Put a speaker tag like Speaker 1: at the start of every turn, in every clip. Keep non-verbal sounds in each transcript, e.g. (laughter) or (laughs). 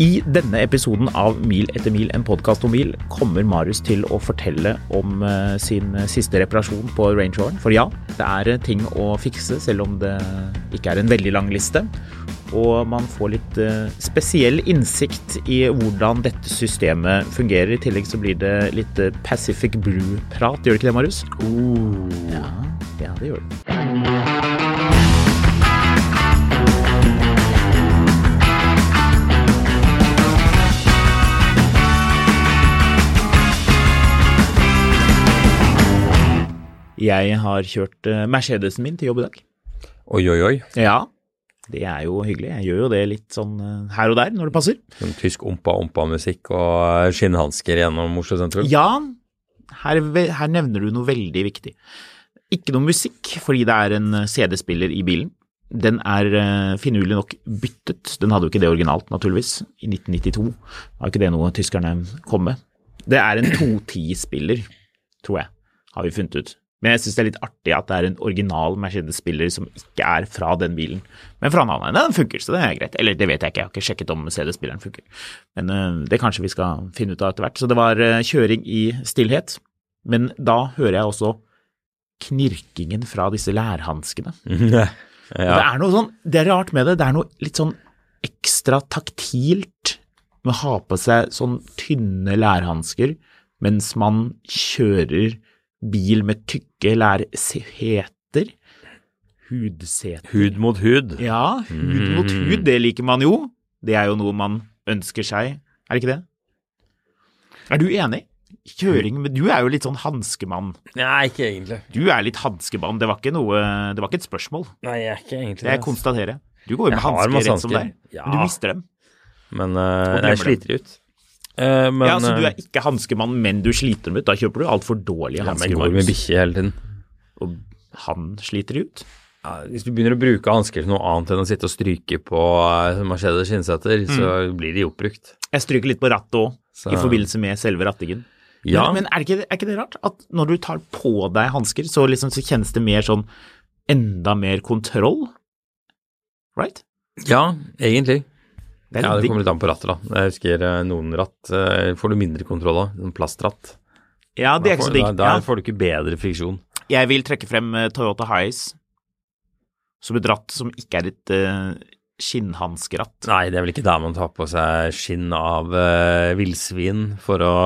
Speaker 1: I denne episoden av Mil etter mil, en podkast om bil, kommer Marius til å fortelle om eh, sin siste reparasjon på Range Roveren. For ja, det er eh, ting å fikse, selv om det ikke er en veldig lang liste. Og man får litt eh, spesiell innsikt i hvordan dette systemet fungerer. I tillegg så blir det litt eh, Pacific Blue-prat, gjør det ikke det, Marius? Ja, ja, det gjør det. Jeg har kjørt eh, Mercedesen min til jobb i dag.
Speaker 2: Oi, oi, oi.
Speaker 1: Ja. Det er jo hyggelig. Jeg gjør jo det litt sånn eh, her og der når det passer.
Speaker 2: Sånn tysk ompa-ompa-musikk og eh, skinnhansker gjennom Oslo (laughs) sentrum.
Speaker 1: Ja, her, ve- her nevner du noe veldig viktig. Ikke noe musikk, fordi det er en eh, CD-spiller i bilen. Den er eh, finurlig nok byttet. Den hadde jo ikke det originalt, naturligvis, i 1992. Har ikke det noe tyskerne kom med. Det er en 210-spiller, tror jeg, har vi funnet ut. Men jeg syns det er litt artig at det er en original Mercedes-spiller som ikke er fra den bilen, men fra en annen. Den funker, så det er greit. Eller det vet jeg ikke, jeg har ikke sjekket om CD-spilleren funker. Men eh, det kanskje vi skal finne ut av etter hvert. Så det var eh, kjøring i stillhet. Men da hører jeg også knirkingen fra disse lærhanskene. Det er noe sånn, det er rart med det, det er noe litt sånn ekstra taktilt med å ha på seg sånn tynne lærhansker mens man kjører bil med tykke lærseter, hudseter.
Speaker 2: Hud mot hud.
Speaker 1: Ja, hud mot hud, det liker man jo. Det er jo noe man ønsker seg, er det ikke det? Er du enig? Kjøring, men du er jo litt sånn hanskemann.
Speaker 2: Nei, ikke egentlig.
Speaker 1: Du er litt hanskemann, det var ikke noe, det var ikke et spørsmål.
Speaker 2: Nei, jeg er ikke egentlig
Speaker 1: Det jeg konstaterer. Du går jo
Speaker 2: Jeg
Speaker 1: med
Speaker 2: har
Speaker 1: hansker
Speaker 2: masse
Speaker 1: rett som det er.
Speaker 2: hansker. Ja.
Speaker 1: Men Du mister dem.
Speaker 2: Men
Speaker 1: Og
Speaker 2: eh, jeg
Speaker 1: glemmer
Speaker 2: sliter ut. Eh, men,
Speaker 1: ja, Så du
Speaker 2: eh,
Speaker 1: er ikke hanskemann, men du sliter dem ut. Da kjøper du altfor dårlige
Speaker 2: ja,
Speaker 1: hansker.
Speaker 2: men går med
Speaker 1: Marius.
Speaker 2: bikkje hele tiden.
Speaker 1: Og han sliter de ut.
Speaker 2: Ja, hvis du begynner å bruke hansker til noe annet enn å sitte og stryke på uh, Mercedes skinnseter,
Speaker 1: Mm.
Speaker 2: så blir de oppbrukt.
Speaker 1: Jeg stryker litt på rattet òg,
Speaker 2: Så-
Speaker 1: i forbindelse med selve rattingen.
Speaker 2: Ja.
Speaker 1: Men, men er, det ikke, er ikke det rart? At når du tar på deg hansker, så, liksom, så kjennes det mer sånn Enda mer kontroll? Right?
Speaker 2: Ja, egentlig.
Speaker 1: Det
Speaker 2: Ja,
Speaker 1: litt
Speaker 2: Det
Speaker 1: digg.
Speaker 2: kommer litt an på rattet, da. Jeg husker eh, noen ratt eh, får du mindre kontroll av. Sånn plastratt.
Speaker 1: ja, det er ikke
Speaker 2: Da
Speaker 1: så
Speaker 2: får-
Speaker 1: digg.
Speaker 2: da-
Speaker 1: Ja.
Speaker 2: Der får du ikke bedre friksjon.
Speaker 1: Jeg vil trekke frem eh, Toyota Highs som et ratt som ikke er et uh, skinnhanskeratt.
Speaker 2: Nei, det er vel ikke der man tar på seg skinn av uh, villsvin for å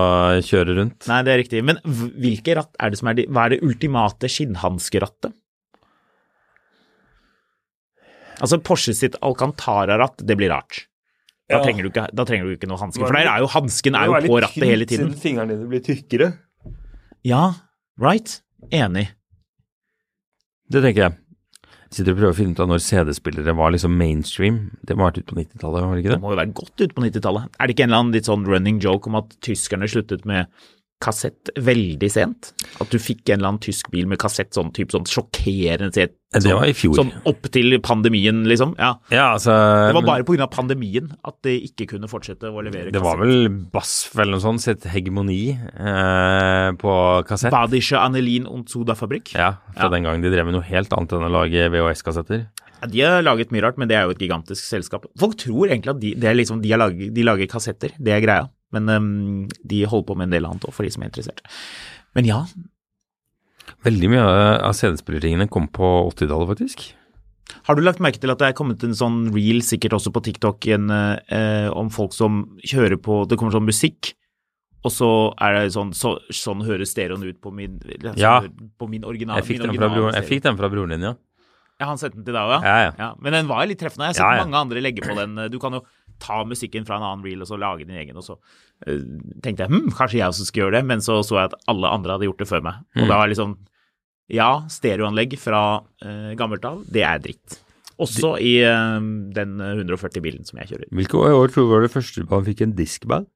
Speaker 2: kjøre rundt.
Speaker 1: Nei, det er riktig. Men hv- hvilke ratt er det som er de Hva er det ultimate skinnhanskerattet? Altså Porsche sitt Alcantara-ratt, det blir rart. Da,
Speaker 3: Ja.
Speaker 1: trenger du ikke, da trenger du ikke noe hansker, for
Speaker 3: Nå er
Speaker 1: der
Speaker 3: det
Speaker 1: er jo hansken er jo på rattet hele tiden.
Speaker 3: Siden fingrene dine blir tykkere.
Speaker 1: Ja, right? Enig.
Speaker 2: Det tenker jeg. Sitter og prøver å finne ut av når CD-spillere var liksom mainstream. Det må ha vært ut på 90-tallet, var det ikke
Speaker 1: Det
Speaker 2: det?
Speaker 1: må jo være godt ut på 90-tallet. Er det ikke en eller annen litt sånn running joke om at tyskerne sluttet med kassett veldig sent? At du fikk en eller annen tysk bil med kassett sånn type sånn sjokkerende sent?
Speaker 2: Det var i fjor.
Speaker 1: Sånn opp til pandemien, liksom? Ja.
Speaker 2: Ja, altså
Speaker 1: Det var bare
Speaker 2: men-
Speaker 1: pga. pandemien at de ikke kunne fortsette å levere
Speaker 2: Det var vel BASF eller noe sånt sitt hegemoni eh, på kassett.
Speaker 1: Badische Anelin und Soda-fabrikk.
Speaker 2: Ja, fra
Speaker 1: Ja.
Speaker 2: den gangen de drev med noe helt annet enn å lage VHS-kassetter.
Speaker 1: Ja, De har laget mye rart, men det er jo et gigantisk selskap. Folk tror egentlig at de, det er liksom, de, har laget, de lager kassetter, det er greia. Men øhm, de holder på med en del annet òg, for de som er interessert. Men ja,
Speaker 2: Veldig mye av CD-spillertingene kom på 80-tallet, faktisk.
Speaker 1: har du lagt merke til at det er kommet en sånn reel, sikkert også på TikTok, en, eh, om folk som kjører på Det kommer sånn musikk, og så er det sånn så, Sånn høres stereoen ut på min, sånn,
Speaker 2: Ja.
Speaker 1: på min original
Speaker 2: Jeg fikk
Speaker 1: min
Speaker 2: den fra
Speaker 1: original
Speaker 2: broren, jeg
Speaker 1: stereo.
Speaker 2: fikk den fra broren din, ja.
Speaker 1: Ja, han sendte den til deg òg,
Speaker 2: Ja, ja.
Speaker 1: Men den var jo litt treffende. Jeg har sett
Speaker 2: Ja, ja.
Speaker 1: mange andre legge på den. Du kan jo ta musikken fra en annen reel og så lage din egen, og så eh, tenkte jeg hm, kanskje jeg også skal gjøre det, men så så jeg at alle andre hadde gjort det før
Speaker 2: Mm.
Speaker 1: meg. Og da var jeg liksom Ja, stereoanlegg fra eh, gammelt av, det er dritt. Også i eh, den 140 bilen som jeg kjører.
Speaker 2: Hvilke år tror du var det første man fikk en diskman?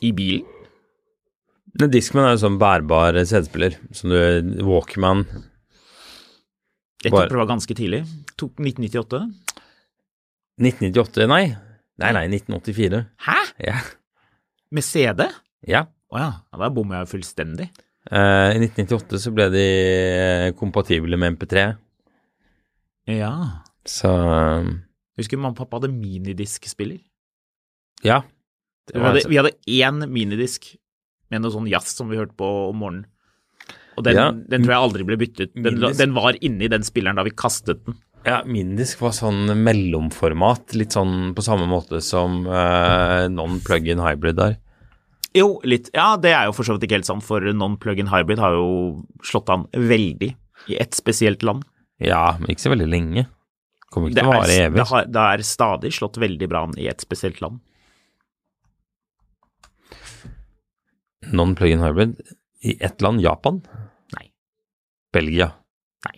Speaker 1: I bilen?
Speaker 2: Nei, Discman er jo sånn bærbar CD-spiller. Som du eh, Walkman.
Speaker 1: Jeg
Speaker 2: Bare-
Speaker 1: tipper det var ganske tidlig. Tok 1998.
Speaker 2: 1998, nei. Nei, nei, 1984.
Speaker 1: Hæ?
Speaker 2: Ja.
Speaker 1: Med CD? Å
Speaker 2: ja.
Speaker 1: ja, ja, da bommer jeg fullstendig.
Speaker 2: Eh, I 1998 så ble de eh, kompatible med MP3.
Speaker 1: Ja.
Speaker 2: Så eh,
Speaker 1: Husker mamma og pappa hadde minidiskspiller.
Speaker 2: ja. Det
Speaker 1: Vi
Speaker 2: var
Speaker 1: hadde,
Speaker 2: altså-
Speaker 1: vi hadde én minidisk med noe sånn jazz som vi hørte på om morgenen. Og den,
Speaker 2: Ja.
Speaker 1: den tror jeg aldri ble byttet. Den,
Speaker 2: Minidisk.
Speaker 1: den var inni den spilleren da vi kastet den.
Speaker 2: Ja, Mindisk var sånn mellomformat, litt sånn på samme måte som eh, non-plug-in hybrid der.
Speaker 1: Jo, litt. Ja, det er jo for så vidt ikke helt sant, for non-plug-in hybrid har jo slått an veldig i ett spesielt land.
Speaker 2: Ja, men ikke så veldig lenge. Kommer ikke
Speaker 1: Det
Speaker 2: til å
Speaker 1: er,
Speaker 2: vare
Speaker 1: det,
Speaker 2: evig.
Speaker 1: har, det er stadig slått veldig bra an i ett spesielt land.
Speaker 2: Non-plug-in hybrid i ett land, Japan?
Speaker 1: Nei.
Speaker 2: Belgia?
Speaker 1: Nei.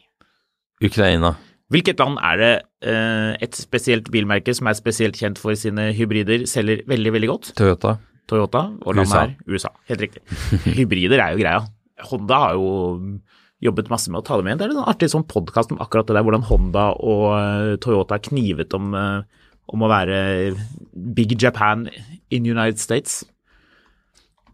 Speaker 2: Ukraina?
Speaker 1: Hvilket land er det eh, et spesielt bilmerke som er spesielt kjent for sine hybrider, selger veldig, veldig godt?
Speaker 2: Toyota?
Speaker 1: Toyota og landet
Speaker 2: USA.
Speaker 1: er USA. Helt riktig. (laughs) Hybrider er jo greia. Honda har jo jobbet masse med å ta det med. Det er en artig sånn podkast om akkurat det der, hvordan Honda og eh, Toyota har knivet om, eh, om å være Big Japan in United States.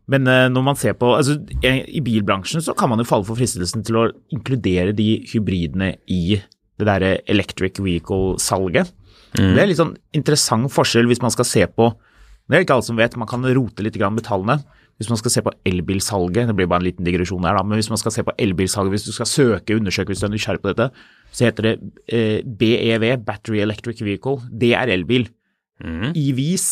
Speaker 1: Men eh, når man ser på altså, eh, I bilbransjen så kan man jo falle for fristelsen til å inkludere de hybridene i det derre electric vehicle-salget. Det er litt sånn interessant forskjell hvis man skal se på Det er ikke alle som vet, man kan rote litt grann med tallene. Hvis man skal se på elbilsalget, det blir bare en liten digresjon her, da, men hvis man skal se på elbilsalget, hvis du skal søke, undersøke, hvis du er nysgjerrig på dette, så heter det eh, BEV, Battery Electric Vehicle. Det er elbil. EVs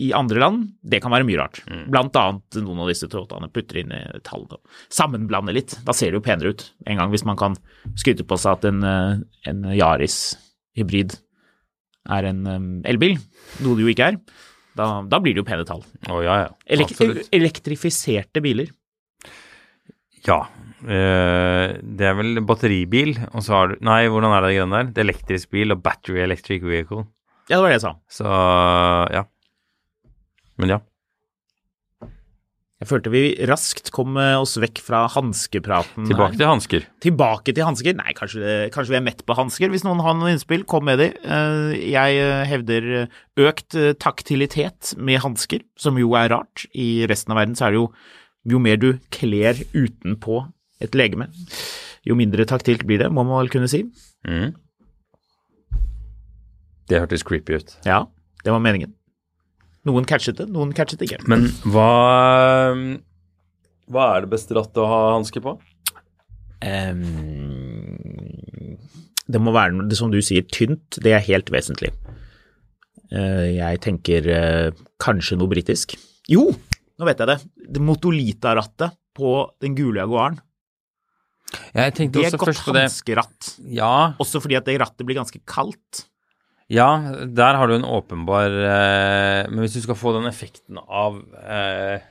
Speaker 1: i andre land, det kan være mye rart. Blant annet noen av disse Toyotaene putter inn eh, tall og sammenblander litt. Da ser det jo penere ut. En gang hvis man kan skryte på seg at en, eh, en Yaris hybrid er en eh, elbil, noe det jo ikke er. Da, da blir det jo pene tall.
Speaker 2: Å ja, ja.
Speaker 1: Elek
Speaker 2: Absolutt.
Speaker 1: elektrifiserte biler.
Speaker 2: Ja. Eh, det er vel batteribil, og så har du Nei, hvordan er det greiene der? Det er elektrisk bil og battery electric vehicle.
Speaker 1: Ja, det var det jeg sa.
Speaker 2: Så ja. Men ja.
Speaker 1: Jeg følte vi raskt kom eh, oss vekk fra hanskepraten.
Speaker 2: Tilbake til hansker.
Speaker 1: Tilbake til hansker? Nei, kanskje, det- kanskje vi er mett på hansker. Hvis noen har noen innspill, kom med de. Eh, Jeg eh, hevder eh, økt eh, taktilitet med hansker, som jo er rart. I resten av verden så er det jo jo mer du kler utenpå et legeme, jo mindre taktilt blir det, må man vel kunne si.
Speaker 2: Det hørtes creepy ut.
Speaker 1: Ja, det var meningen. Noen catchet det, noen catchet det ikke.
Speaker 2: Men hva Hva er det beste rattet å ha hansker på?
Speaker 1: Ehm, det må være, noe- det som du sier, tynt. Det er helt vesentlig. Eh, jeg tenker eh, kanskje noe britisk. Jo, nå vet jeg det. Det Motolita-rattet på den gule Jaguaren.
Speaker 2: Jeg tenkte
Speaker 1: Det er
Speaker 2: også
Speaker 1: godt
Speaker 2: først på det.
Speaker 1: hanskeratt.
Speaker 2: Ja,
Speaker 1: Også fordi at det rattet blir ganske kaldt.
Speaker 2: ja, der har du en åpenbar eh, Men hvis du skal få den effekten av eh,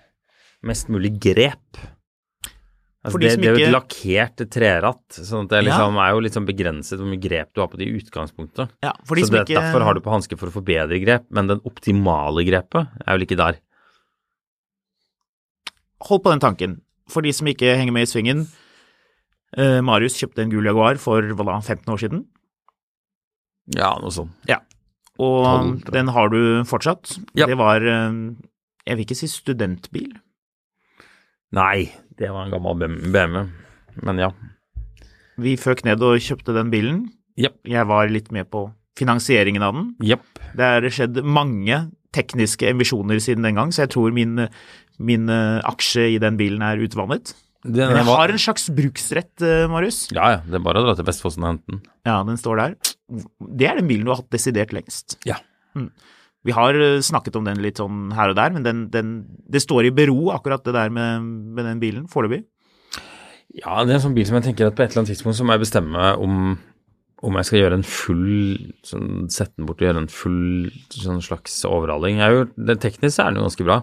Speaker 2: mest mulig grep altså
Speaker 1: For de
Speaker 2: det,
Speaker 1: som
Speaker 2: det er jo et
Speaker 1: ikke-
Speaker 2: lakkert treratt, sånn at det er
Speaker 1: Ja.
Speaker 2: liksom, er jo litt sånn begrenset hvor mye grep du har på det i utgangspunktet.
Speaker 1: Ja, for de
Speaker 2: så
Speaker 1: som
Speaker 2: det,
Speaker 1: ikke
Speaker 2: derfor har du på hansker for å få bedre grep, men den optimale grepet er vel ikke der.
Speaker 1: Hold på den tanken. For de som ikke henger med i svingen. eh, Marius kjøpte en gul Jaguar for hva da, 15 år siden.
Speaker 2: Ja, noe sånt.
Speaker 1: Ja. Og
Speaker 2: Tolv, tror jeg.
Speaker 1: den har du fortsatt.
Speaker 2: Ja.
Speaker 1: Det var eh, Jeg vil ikke si studentbil.
Speaker 2: Nei, det var en gammel BMW. Men ja.
Speaker 1: Vi føk ned og kjøpte den bilen.
Speaker 2: Japp.
Speaker 1: Jeg var litt med på finansieringen av den.
Speaker 2: Jepp.
Speaker 1: Det er skjedd mange tekniske emisjoner siden den gang, så jeg tror min, min eh, aksje i den bilen er utvannet.
Speaker 2: Den,
Speaker 1: Men jeg
Speaker 2: var,
Speaker 1: har en slags bruksrett, eh, Marius.
Speaker 2: ja, ja, det er bare å dra til Vestfossen og hente den.
Speaker 1: Ja, den står der. Det er den bilen du har hatt desidert lengst.
Speaker 2: Ja.
Speaker 1: Mm. Vi har eh, snakket om den litt sånn her og der, men den, den, det står i bero akkurat det der med, med den bilen foreløpig.
Speaker 2: Ja, det er en sånn bil som jeg tenker at på et eller annet tidspunkt så må jeg bestemme om, om jeg skal gjøre en full sånn, Sette den bort og gjøre en full sånn slags overhaling. Jeg har jo, det teknisk så er den jo ganske bra.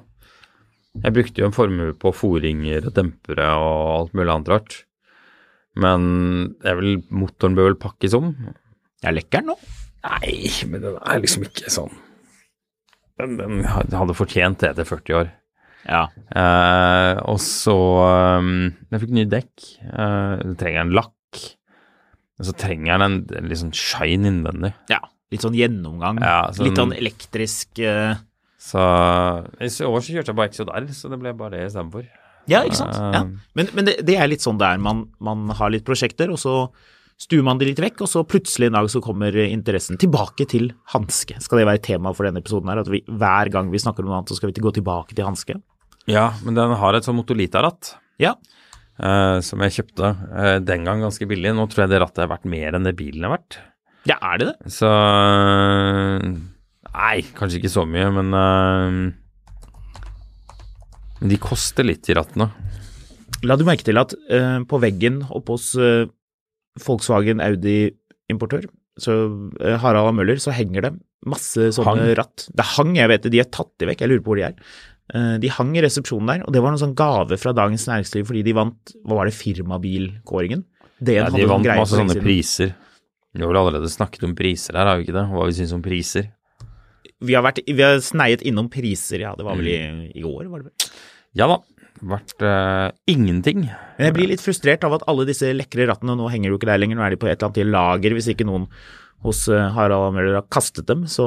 Speaker 2: Jeg brukte jo en formue på foringer og dempere og alt mulig annet rart. Men jeg vil, motoren bør vel pakkes om?
Speaker 1: Jeg er lekker nå.
Speaker 2: Nei, men den er liksom ikke sånn. Den, den hadde fortjent det etter 40 år.
Speaker 1: Ja.
Speaker 2: Eh, og så um, Jeg fikk nye dekk. Eh, jeg trenger en lakk. Og så trenger jeg en, en litt sånn shine innvendig.
Speaker 1: ja. Litt sånn gjennomgang.
Speaker 2: Ja, sånn-
Speaker 1: Litt sånn elektrisk eh,
Speaker 2: Så I år så kjørte jeg bare XJR, så det ble bare det istedenfor.
Speaker 1: Ja, ikke sant? Ja.
Speaker 2: Um.
Speaker 1: Men, men det, det er litt sånn det er. Man, man har litt prosjekter, og så stuer man de litt vekk, og så plutselig en dag så kommer interessen tilbake til hanske. Skal det være tema for denne episoden her? At vi, hver gang vi snakker om noe annet, så skal vi til- gå tilbake til hanske?
Speaker 2: Ja, men den har et sånn Motolita-ratt
Speaker 1: Ja.
Speaker 2: eh, som jeg kjøpte eh, den gang ganske billig. Nå tror jeg det rattet er verdt mer enn det bilen er verdt.
Speaker 1: Ja, er det det?
Speaker 2: Så eh, Nei, kanskje ikke så mye, men eh, Men de koster litt, de rattene.
Speaker 1: La du merke til at eh, på veggen oppe hos eh, Volkswagen Audi-importør, så eh, Harald og Møller, så henger det masse sånne
Speaker 2: Hang.
Speaker 1: ratt. Det hang, jeg vet det, de er tatt de vekk, jeg lurer på hvor de er. Eh, de hang i resepsjonen der, og det var noen sånn gave fra Dagens Næringsliv fordi de vant, hva var det, firmabilkåringen? DN
Speaker 2: Ja,
Speaker 1: hadde
Speaker 2: de
Speaker 1: noen
Speaker 2: vant
Speaker 1: greier
Speaker 2: masse
Speaker 1: for lenge
Speaker 2: sånne
Speaker 1: siden.
Speaker 2: priser. Vi har vel allerede snakket om priser her, har vi ikke det? Hva vi syns om priser.
Speaker 1: Vi har, vært, vi har sneiet innom priser, ja, det var vel i,
Speaker 2: Mm.
Speaker 1: i år, var det vel?
Speaker 2: Ja da. Vært eh, ingenting.
Speaker 1: Men jeg blir litt frustrert av at alle disse lekre rattene, og nå henger jo ikke der lenger, nå er de på et eller annet lager hvis ikke noen hos eh, Harald Møller har kastet dem, så,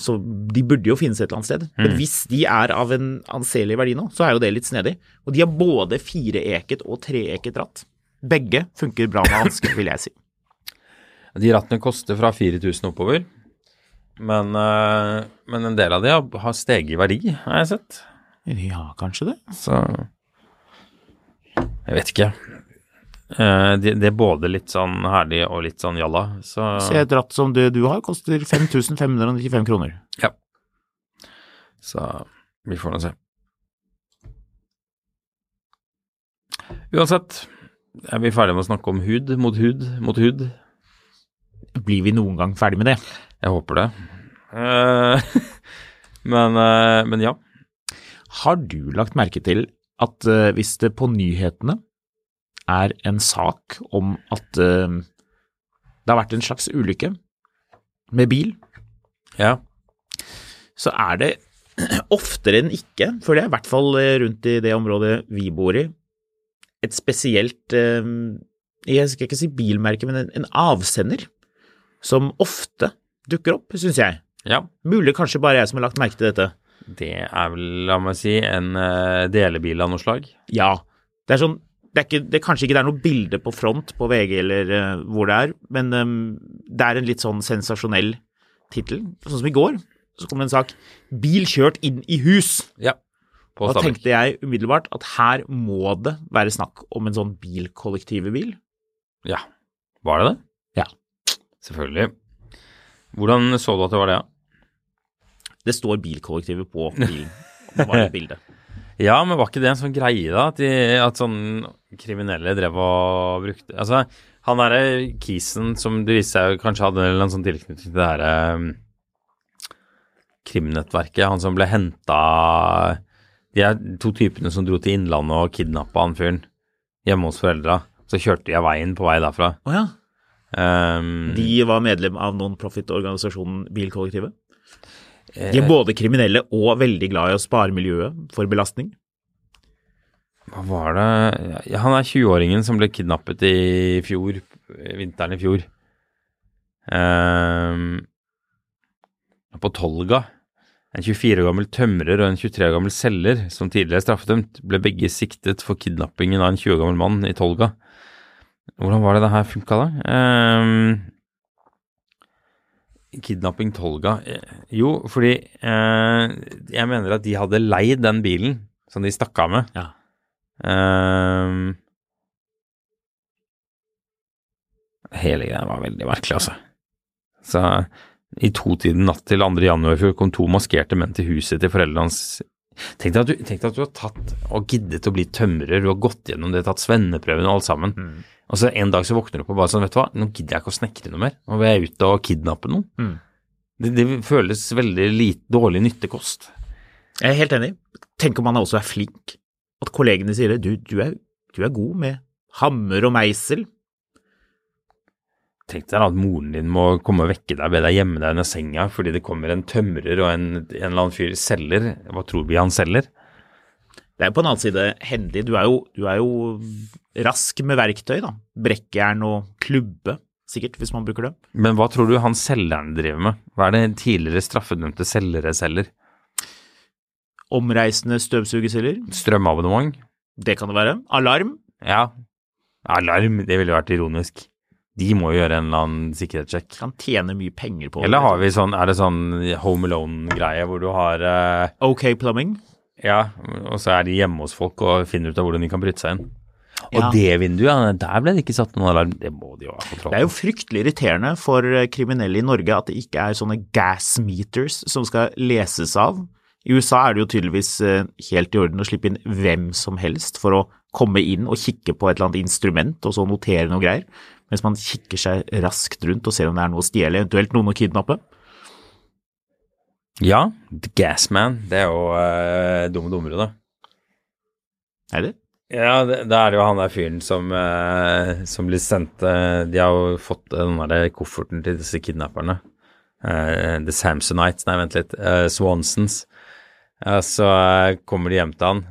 Speaker 1: så de burde jo finnes et eller annet sted. Men hvis de er av en anselig verdi nå, så er jo det litt snedig. Og de har både fireeket og treeket ratt. Begge funker bra med hansker, vil jeg si.
Speaker 2: De rattene koster fra 4000 oppover. Men, eh, men en del av de har- har steget i verdi, har jeg sett.
Speaker 1: (laughs) Ja, kanskje det.
Speaker 2: Så Jeg vet ikke. Eh, det de er både litt sånn herlig og litt sånn jalla. Så,
Speaker 1: Se et ratt som det du har, koster 5595 kroner.
Speaker 2: Ja. Så vi får nå se. Uansett, er vi ferdige med å snakke om hud mot hud mot hud?
Speaker 1: Blir vi noen gang ferdig med det?
Speaker 2: Jeg håper det. Eh, (laughs) men, eh, men ja.
Speaker 1: Har du lagt merke til at eh, hvis det på nyhetene er en sak om at eh, det har vært en slags ulykke med bil,
Speaker 2: ja.
Speaker 1: så er det (clears throat) oftere enn ikke, føler jeg, i hvert fall eh, rundt i det området vi bor i, et spesielt eh, Jeg skal ikke si bilmerke, men en, en avsender som ofte dukker opp, syns jeg.
Speaker 2: Ja.
Speaker 1: Mulig kanskje bare jeg som har lagt merke til dette.
Speaker 2: Det er vel, la meg si, en eh, delebil av noe slag.
Speaker 1: Ja. Det er sånn det er, ikke, det er kanskje ikke det er noe bilde på front på VG eller eh, hvor det er, men eh, det er en litt sånn sensasjonell tittel. Sånn som i går, så kom det en sak 'Bil kjørt inn i hus'.
Speaker 2: Ja. På
Speaker 1: Da
Speaker 2: Stabekk.
Speaker 1: tenkte jeg umiddelbart at her må det være snakk om en sånn bilkollektivbil.
Speaker 2: Ja. Var det det?
Speaker 1: Ja.
Speaker 2: Selvfølgelig. Hvordan så du at det var det? Ja?
Speaker 1: Det står bilkollektivet på bilen. Det var et bilde.
Speaker 2: Ja, men var ikke det en sånn greie da, at, de, at sånn kriminelle drev og brukte Altså, han derre Kisen som det viste seg kanskje hadde en eller annen sånn tilknytning til det derre um, krimnettverket, han som ble henta De er to typene som dro til Innlandet og kidnappa han fyren hjemme hos foreldra. Så kjørte de av veien på vei derfra.
Speaker 1: Å ja.
Speaker 2: Um,
Speaker 1: Mm. De var medlem av non-profit-organisasjonen Bilkollektivet. De er både kriminelle og veldig glad i å spare miljøet for belastning.
Speaker 2: Hva var det ja, Han er 20-åringen som ble kidnappet i fjor, vinteren i fjor. Ehm, på Tolga. En 24 år gammel tømrer og en 23 år gammel selger, som tidligere straffedømt, ble begge siktet for kidnappingen av en 20 år gammel mann i Tolga. Hvordan var det det her funka, da? Ehm, kidnapping Tolga Eh, Jo, fordi eh, jeg mener at de hadde leid den bilen som de stakk av med.
Speaker 1: Ja.
Speaker 2: Ehm. hele greia var veldig merkelig, altså. Så i totiden natt til 2. januar i fjor kom to maskerte menn til huset til foreldrene hans. Tenk deg at du, tenk deg at du har tatt og giddet å bli tømrer, du har gått gjennom det, tatt svenneprøven og alt sammen. Og så en dag så våkner du opp og bare sånn, vet du hva, nå gidder jeg ikke å snekre noe mer, nå vil jeg ut og kidnappe noen.
Speaker 1: Mm.
Speaker 2: Det, det føles veldig lite, dårlig nyttekost.
Speaker 1: Jeg er helt enig. Tenk om han også er flink. At kollegene sier det. Du, du, er, du er god med hammer og meisel.
Speaker 2: Tenk deg da at moren din må komme og vekke deg, be deg gjemme deg under senga fordi det kommer en tømrer og en, en eller annen fyr selger. Hva tror vi han selger?
Speaker 1: Det er jo på den annen side hendig. Du er jo, du er jo rask med verktøy, da. Brekkjern og klubbe, sikkert, hvis man bruker det.
Speaker 2: Men hva tror du han selgeren driver med? Hva er det tidligere straffedømte selgere selger?
Speaker 1: Omreisende støvsugerceller,
Speaker 2: Strømabonnement?
Speaker 1: det kan det være. Alarm,
Speaker 2: Ja. Alarm, det ville vært ironisk. De må jo gjøre en eller annen sikkerhetssjekk.
Speaker 1: kan tjene mye penger på.
Speaker 2: Eller har vi sånn, er det sånn Home Alone-greie hvor du har eh,
Speaker 1: OK Plumbing.
Speaker 2: Ja, og så er de hjemme hos folk og finner ut av hvordan de kan bryte seg inn. Og
Speaker 1: Ja.
Speaker 2: det vinduet, ja, der ble det ikke satt noen alarm. Det må de jo ha kontroll
Speaker 1: Det er jo fryktelig irriterende for eh, kriminelle i Norge at det ikke er sånne gas meters som skal leses av. I USA er det jo tydeligvis eh, helt i orden å slippe inn hvem som helst for å komme inn og kikke på et eller annet instrument og så notere noe greier, mens man kikker seg raskt rundt og ser om det er noe å stjele, eventuelt noen å kidnappe.
Speaker 2: Ja, The Gasman, det er jo eh, dum og dummere, da.
Speaker 1: Er det?
Speaker 2: Ja, det, da er det jo han der fyren som, eh, som blir sendt eh, De har jo fått eh, den der kofferten til disse kidnapperne. Eh, the Samsonites, nei, vent litt. eh, Swansons. Eh, så eh, kommer de hjem til han,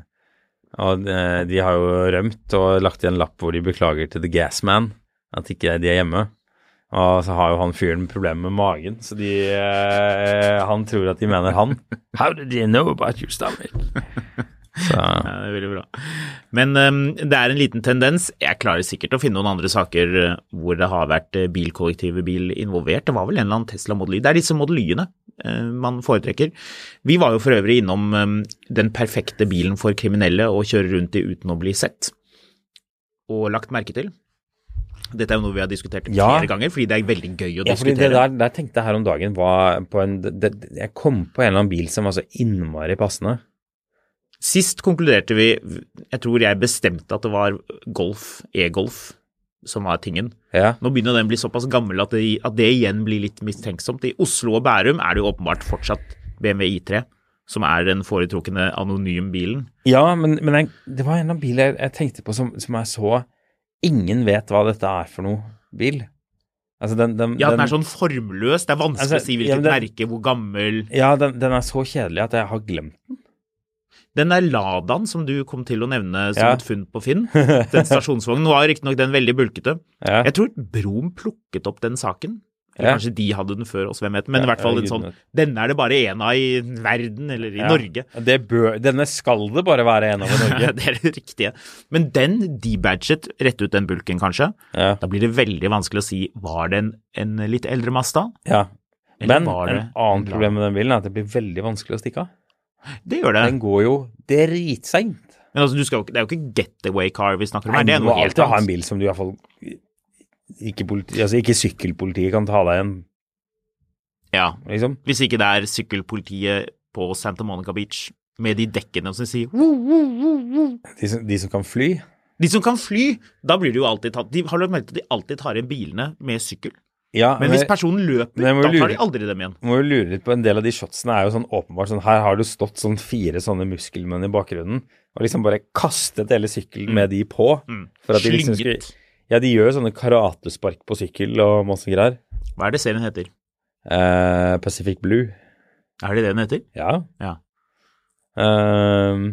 Speaker 2: og eh, de har jo rømt og lagt igjen en lapp hvor de beklager til The Gasman at ikke de er hjemme. Og så har jo han fyren problemer med magen, så de eh, Han tror at de mener han. How did you know about your stomach? Så,
Speaker 1: Ja, det er veldig bra. Men ehm, det er en liten tendens. Jeg klarer sikkert å finne noen andre saker eh, hvor det har vært eh, bilkollektive bil involvert. Det var vel en eller annen Tesla Model Y. Det er disse Model Y-ene eh, man foretrekker. Vi var jo for øvrig innom ehm, den perfekte bilen for kriminelle å kjøre rundt i uten å bli sett og lagt merke til. Dette er jo noe vi har diskutert
Speaker 2: Ja.
Speaker 1: flere ganger, fordi det er veldig gøy å
Speaker 2: Ja, fordi
Speaker 1: diskutere.
Speaker 2: det der, der tenkte jeg her om dagen var på en det, det- Jeg kom på en eller annen bil som var så innmari passende.
Speaker 1: Sist konkluderte vi, jeg tror jeg bestemte at det var golf, e-golf, som var tingen.
Speaker 2: Ja.
Speaker 1: Nå begynner den å bli såpass gammel at det, at det igjen blir litt mistenksomt. I Oslo og Bærum er det jo åpenbart fortsatt BMW I3 som er den foretrukne anonymbilen.
Speaker 2: Ja, men, men jeg, det var en eller annen bil jeg, jeg tenkte på som, som jeg så Ingen vet hva dette er for noe bil. Altså, den, den,
Speaker 1: Ja, den er sånn formløs, det er vanskelig
Speaker 2: Altså,
Speaker 1: å si
Speaker 2: ja,
Speaker 1: hvilket
Speaker 2: men det-
Speaker 1: merke, hvor gammel.
Speaker 2: Ja, den, den er så kjedelig at jeg har glemt
Speaker 1: Den der Ladaen som du kom til å nevne som
Speaker 2: Ja.
Speaker 1: et funn på Finn,
Speaker 2: (laughs)
Speaker 1: den stasjonsvognen, var riktignok den veldig bulkete.
Speaker 2: ja.
Speaker 1: Jeg tror Brom plukket opp den saken. Eller
Speaker 2: Ja.
Speaker 1: kanskje de hadde den før oss, hvem vet. Men
Speaker 2: Ja,
Speaker 1: i hvert fall
Speaker 2: ja,
Speaker 1: en sånn
Speaker 2: gudene.
Speaker 1: Denne er det bare én av i verden, eller i
Speaker 2: ja.
Speaker 1: Norge.
Speaker 2: Det bør, denne skal det bare være en
Speaker 1: (laughs)
Speaker 2: av i Norge.
Speaker 1: det er det riktige. Men den debadget, rett ut den bulken kanskje,
Speaker 2: ja.
Speaker 1: da blir det veldig vanskelig å si var det en, en litt eldre Mazda?
Speaker 2: ja.
Speaker 1: Eller
Speaker 2: Men
Speaker 1: var det
Speaker 2: en annen
Speaker 1: en
Speaker 2: problem med den bilen er at det blir veldig vanskelig å stikke av.
Speaker 1: Det gjør det.
Speaker 2: Den går jo dritseint.
Speaker 1: Men altså, du skal, jo ikke- det er jo ikke getaway car vi snakker om
Speaker 2: Nei,
Speaker 1: her, det er
Speaker 2: du må
Speaker 1: noe helt
Speaker 2: alltid ha en
Speaker 1: annet.
Speaker 2: bil som du i hvert fall ikke, politi, altså ikke sykkelpolitiet kan ta deg igjen,
Speaker 1: Ja,
Speaker 2: liksom.
Speaker 1: Hvis ikke det er sykkelpolitiet på Santa Monica Beach med de dekkene som sier
Speaker 2: De som, de som kan fly.
Speaker 1: De som kan fly, da blir det jo alltid tatt de, Har du lagt merke til at de alltid tar igjen bilene med sykkel?
Speaker 2: Ja,
Speaker 1: Men hvis personen løper,
Speaker 2: Men jeg må
Speaker 1: da tar de
Speaker 2: lure-
Speaker 1: aldri dem igjen.
Speaker 2: må jo lure litt på en del av de shotsene er jo sånn åpenbart sånn her har du stått sånn fire sånne muskelmenn i bakgrunnen og liksom bare kastet hele sykkelen med de på.
Speaker 1: Mm.
Speaker 2: For at de liksom
Speaker 1: Slynget.
Speaker 2: skulle- Ja, de gjør jo sånne karatespark på sykkel og masse greier.
Speaker 1: Hva er det serien heter?
Speaker 2: Eh, Pacific Blue.
Speaker 1: Er det det den heter?
Speaker 2: Ja.
Speaker 1: Ja.
Speaker 2: Eh,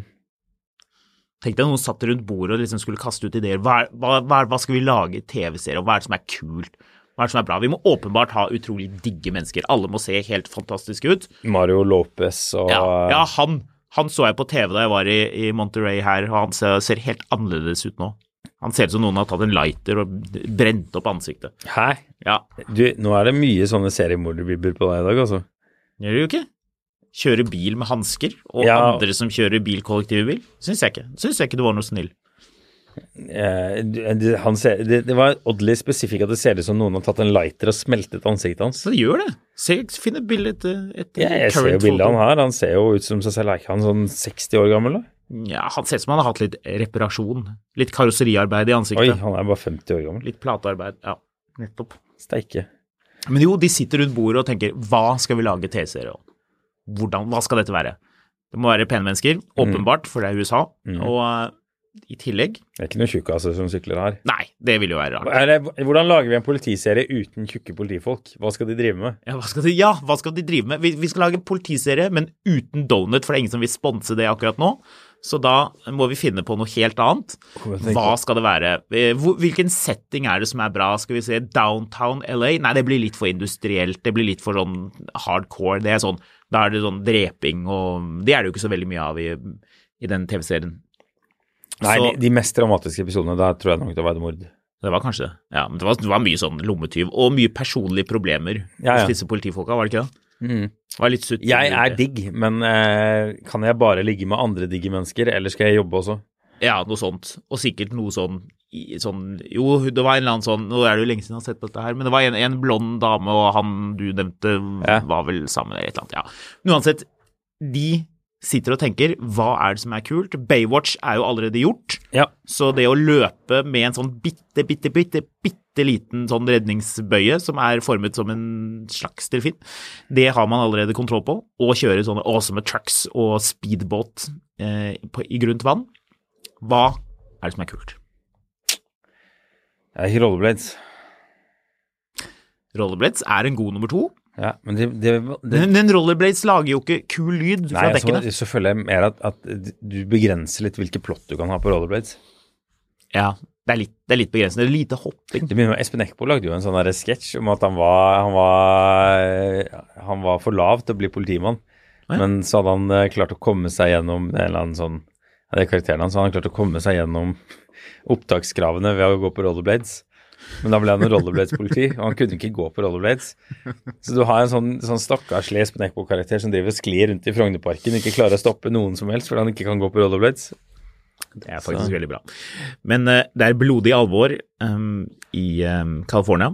Speaker 1: Tenk deg noen satt rundt bordet og liksom skulle kaste ut ideer. Hva, er- hva, hva, er- hva skal vi lage i TV-serier, og hva er det som er kult? Hva er det som er bra? Vi må åpenbart ha utrolig digge mennesker. Alle må se helt fantastiske ut.
Speaker 2: Mario Lopez og
Speaker 1: Ja, ja han, han så jeg på TV da jeg var i, i Monterey her, og han ser, ser helt annerledes ut nå. Han ser ut som noen har tatt en lighter og brent opp ansiktet.
Speaker 2: Hæ?
Speaker 1: Ja,
Speaker 2: Du, nå er det mye sånne seriemorderbibber på deg i dag, altså.
Speaker 1: gjør det jo ikke. Kjøre bil med hansker, og
Speaker 2: Ja.
Speaker 1: andre som kjører bil kollektivbil, syns jeg ikke. Syns jeg ikke du var noe snill.
Speaker 2: Eh, du- du- han ser, det, det var oddly spesifikt at det ser ut som noen har tatt en lighter og smeltet ansiktet hans.
Speaker 1: Så gjør det. Se, finn et bilde etter, etter
Speaker 2: Ja, jeg ser jo
Speaker 1: current
Speaker 2: bildet
Speaker 1: photo.
Speaker 2: han har. Han ser jo ut som seg selv. Er ikke han sånn 60 år gammel, da?
Speaker 1: Ja, han ser ut som han har hatt litt reparasjon. Litt karosseriarbeid i
Speaker 2: Oi,
Speaker 1: ansiktet.
Speaker 2: han er bare 50 år gammel.
Speaker 1: Litt platearbeid. Ja, nettopp.
Speaker 2: Steike.
Speaker 1: Men jo, de sitter rundt bordet og tenker hva skal vi lage TV-serie om? Mm. Hvordan, hva skal dette være? Det må være pene mennesker, åpenbart, for det er USA. Og eh, i tillegg.
Speaker 2: Det er ikke noen tjukkaser som sykler her.
Speaker 1: Nei, det ville jo være rart.
Speaker 2: Er det, hvordan lager vi en politiserie uten tjukke politifolk? Hva skal de drive med?
Speaker 1: Ja, hva skal de, ja, hva skal de drive med? Vi, vi skal lage en politiserie, men uten donut, for det er ingen som vil sponse det akkurat nå. Så da må vi finne på noe helt annet.
Speaker 2: jeg tenker-
Speaker 1: Hva skal det være? Eh, hvor- Hvilken setting er det som er bra? Skal vi se downtown LA? Nei, det blir litt for industrielt. Det blir litt for sånn hardcore. Det er sånn, da er det sånn dreping og Det er det jo ikke så veldig mye av i, i den TV-serien.
Speaker 2: Nei,
Speaker 1: Så-
Speaker 2: de, de mest dramatiske episodene, der tror jeg nok det var et mord.
Speaker 1: Det var kanskje det. Ja, men det var, det var mye sånn lommetyv og mye personlige problemer
Speaker 2: Ja, ja.
Speaker 1: hos disse politifolka, var det ikke det? Det Var litt sutt.
Speaker 2: Jeg er digg, men eh, kan jeg bare ligge med andre digge mennesker, eller skal jeg jobbe også?
Speaker 1: Ja, noe sånt. Og sikkert noe sånn, i- sånn Jo, det var en eller annen sånn Nå er det jo lenge siden jeg har sett på dette her, men det var en, en blond dame, og han du nevnte,
Speaker 2: Ja.
Speaker 1: var vel sammen eller et eller annet. Ja. Men uansett, de sitter og tenker hva er det som er kult? Baywatch er jo allerede gjort.
Speaker 2: Ja.
Speaker 1: Så det å løpe med en sånn bitte, bitte, bitte, bitte liten sånn redningsbøye som er formet som en slags delfin, det har man allerede kontroll på. Og kjøre sånne awesome trucks og speedbåt eh, på, i grunt vann. Hva er det som er kult?
Speaker 2: Jeg er ikke rollerblades.
Speaker 1: Rollerblades er en god nummer to,
Speaker 2: Ja, men det, det, det
Speaker 1: men men rollerblades lager jo ikke kul lyd
Speaker 2: Nei,
Speaker 1: fra
Speaker 2: altså,
Speaker 1: dekkene.
Speaker 2: så føler jeg mer at, at du begrenser litt hvilke plott du kan ha på rollerblades.
Speaker 1: Ja, det er litt, det er litt begrensende. Lite hopping.
Speaker 2: Det begynner med Espen Eckbo lagde jo en sånn der sketsj om at han var, han, var, han var for lav til å bli politimann.
Speaker 1: ja.
Speaker 2: Men så hadde han eh, klart å komme seg gjennom en eller annen sånn ja, Det er karakteren hans. så Han hadde klart å komme seg gjennom opptakskravene ved å gå på rollerblades. Men da ble han rollerblades-politi, og han kunne ikke gå på rollerblades. Så du har en sånn, sånn stakkarslig Espen Eckbo-karakter som driver og sklir rundt i Frognerparken, ikke klarer å stoppe noen som helst fordi han ikke kan gå på rollerblades.
Speaker 1: Det er faktisk veldig bra. Men eh, det er blodig alvor em, i um, California.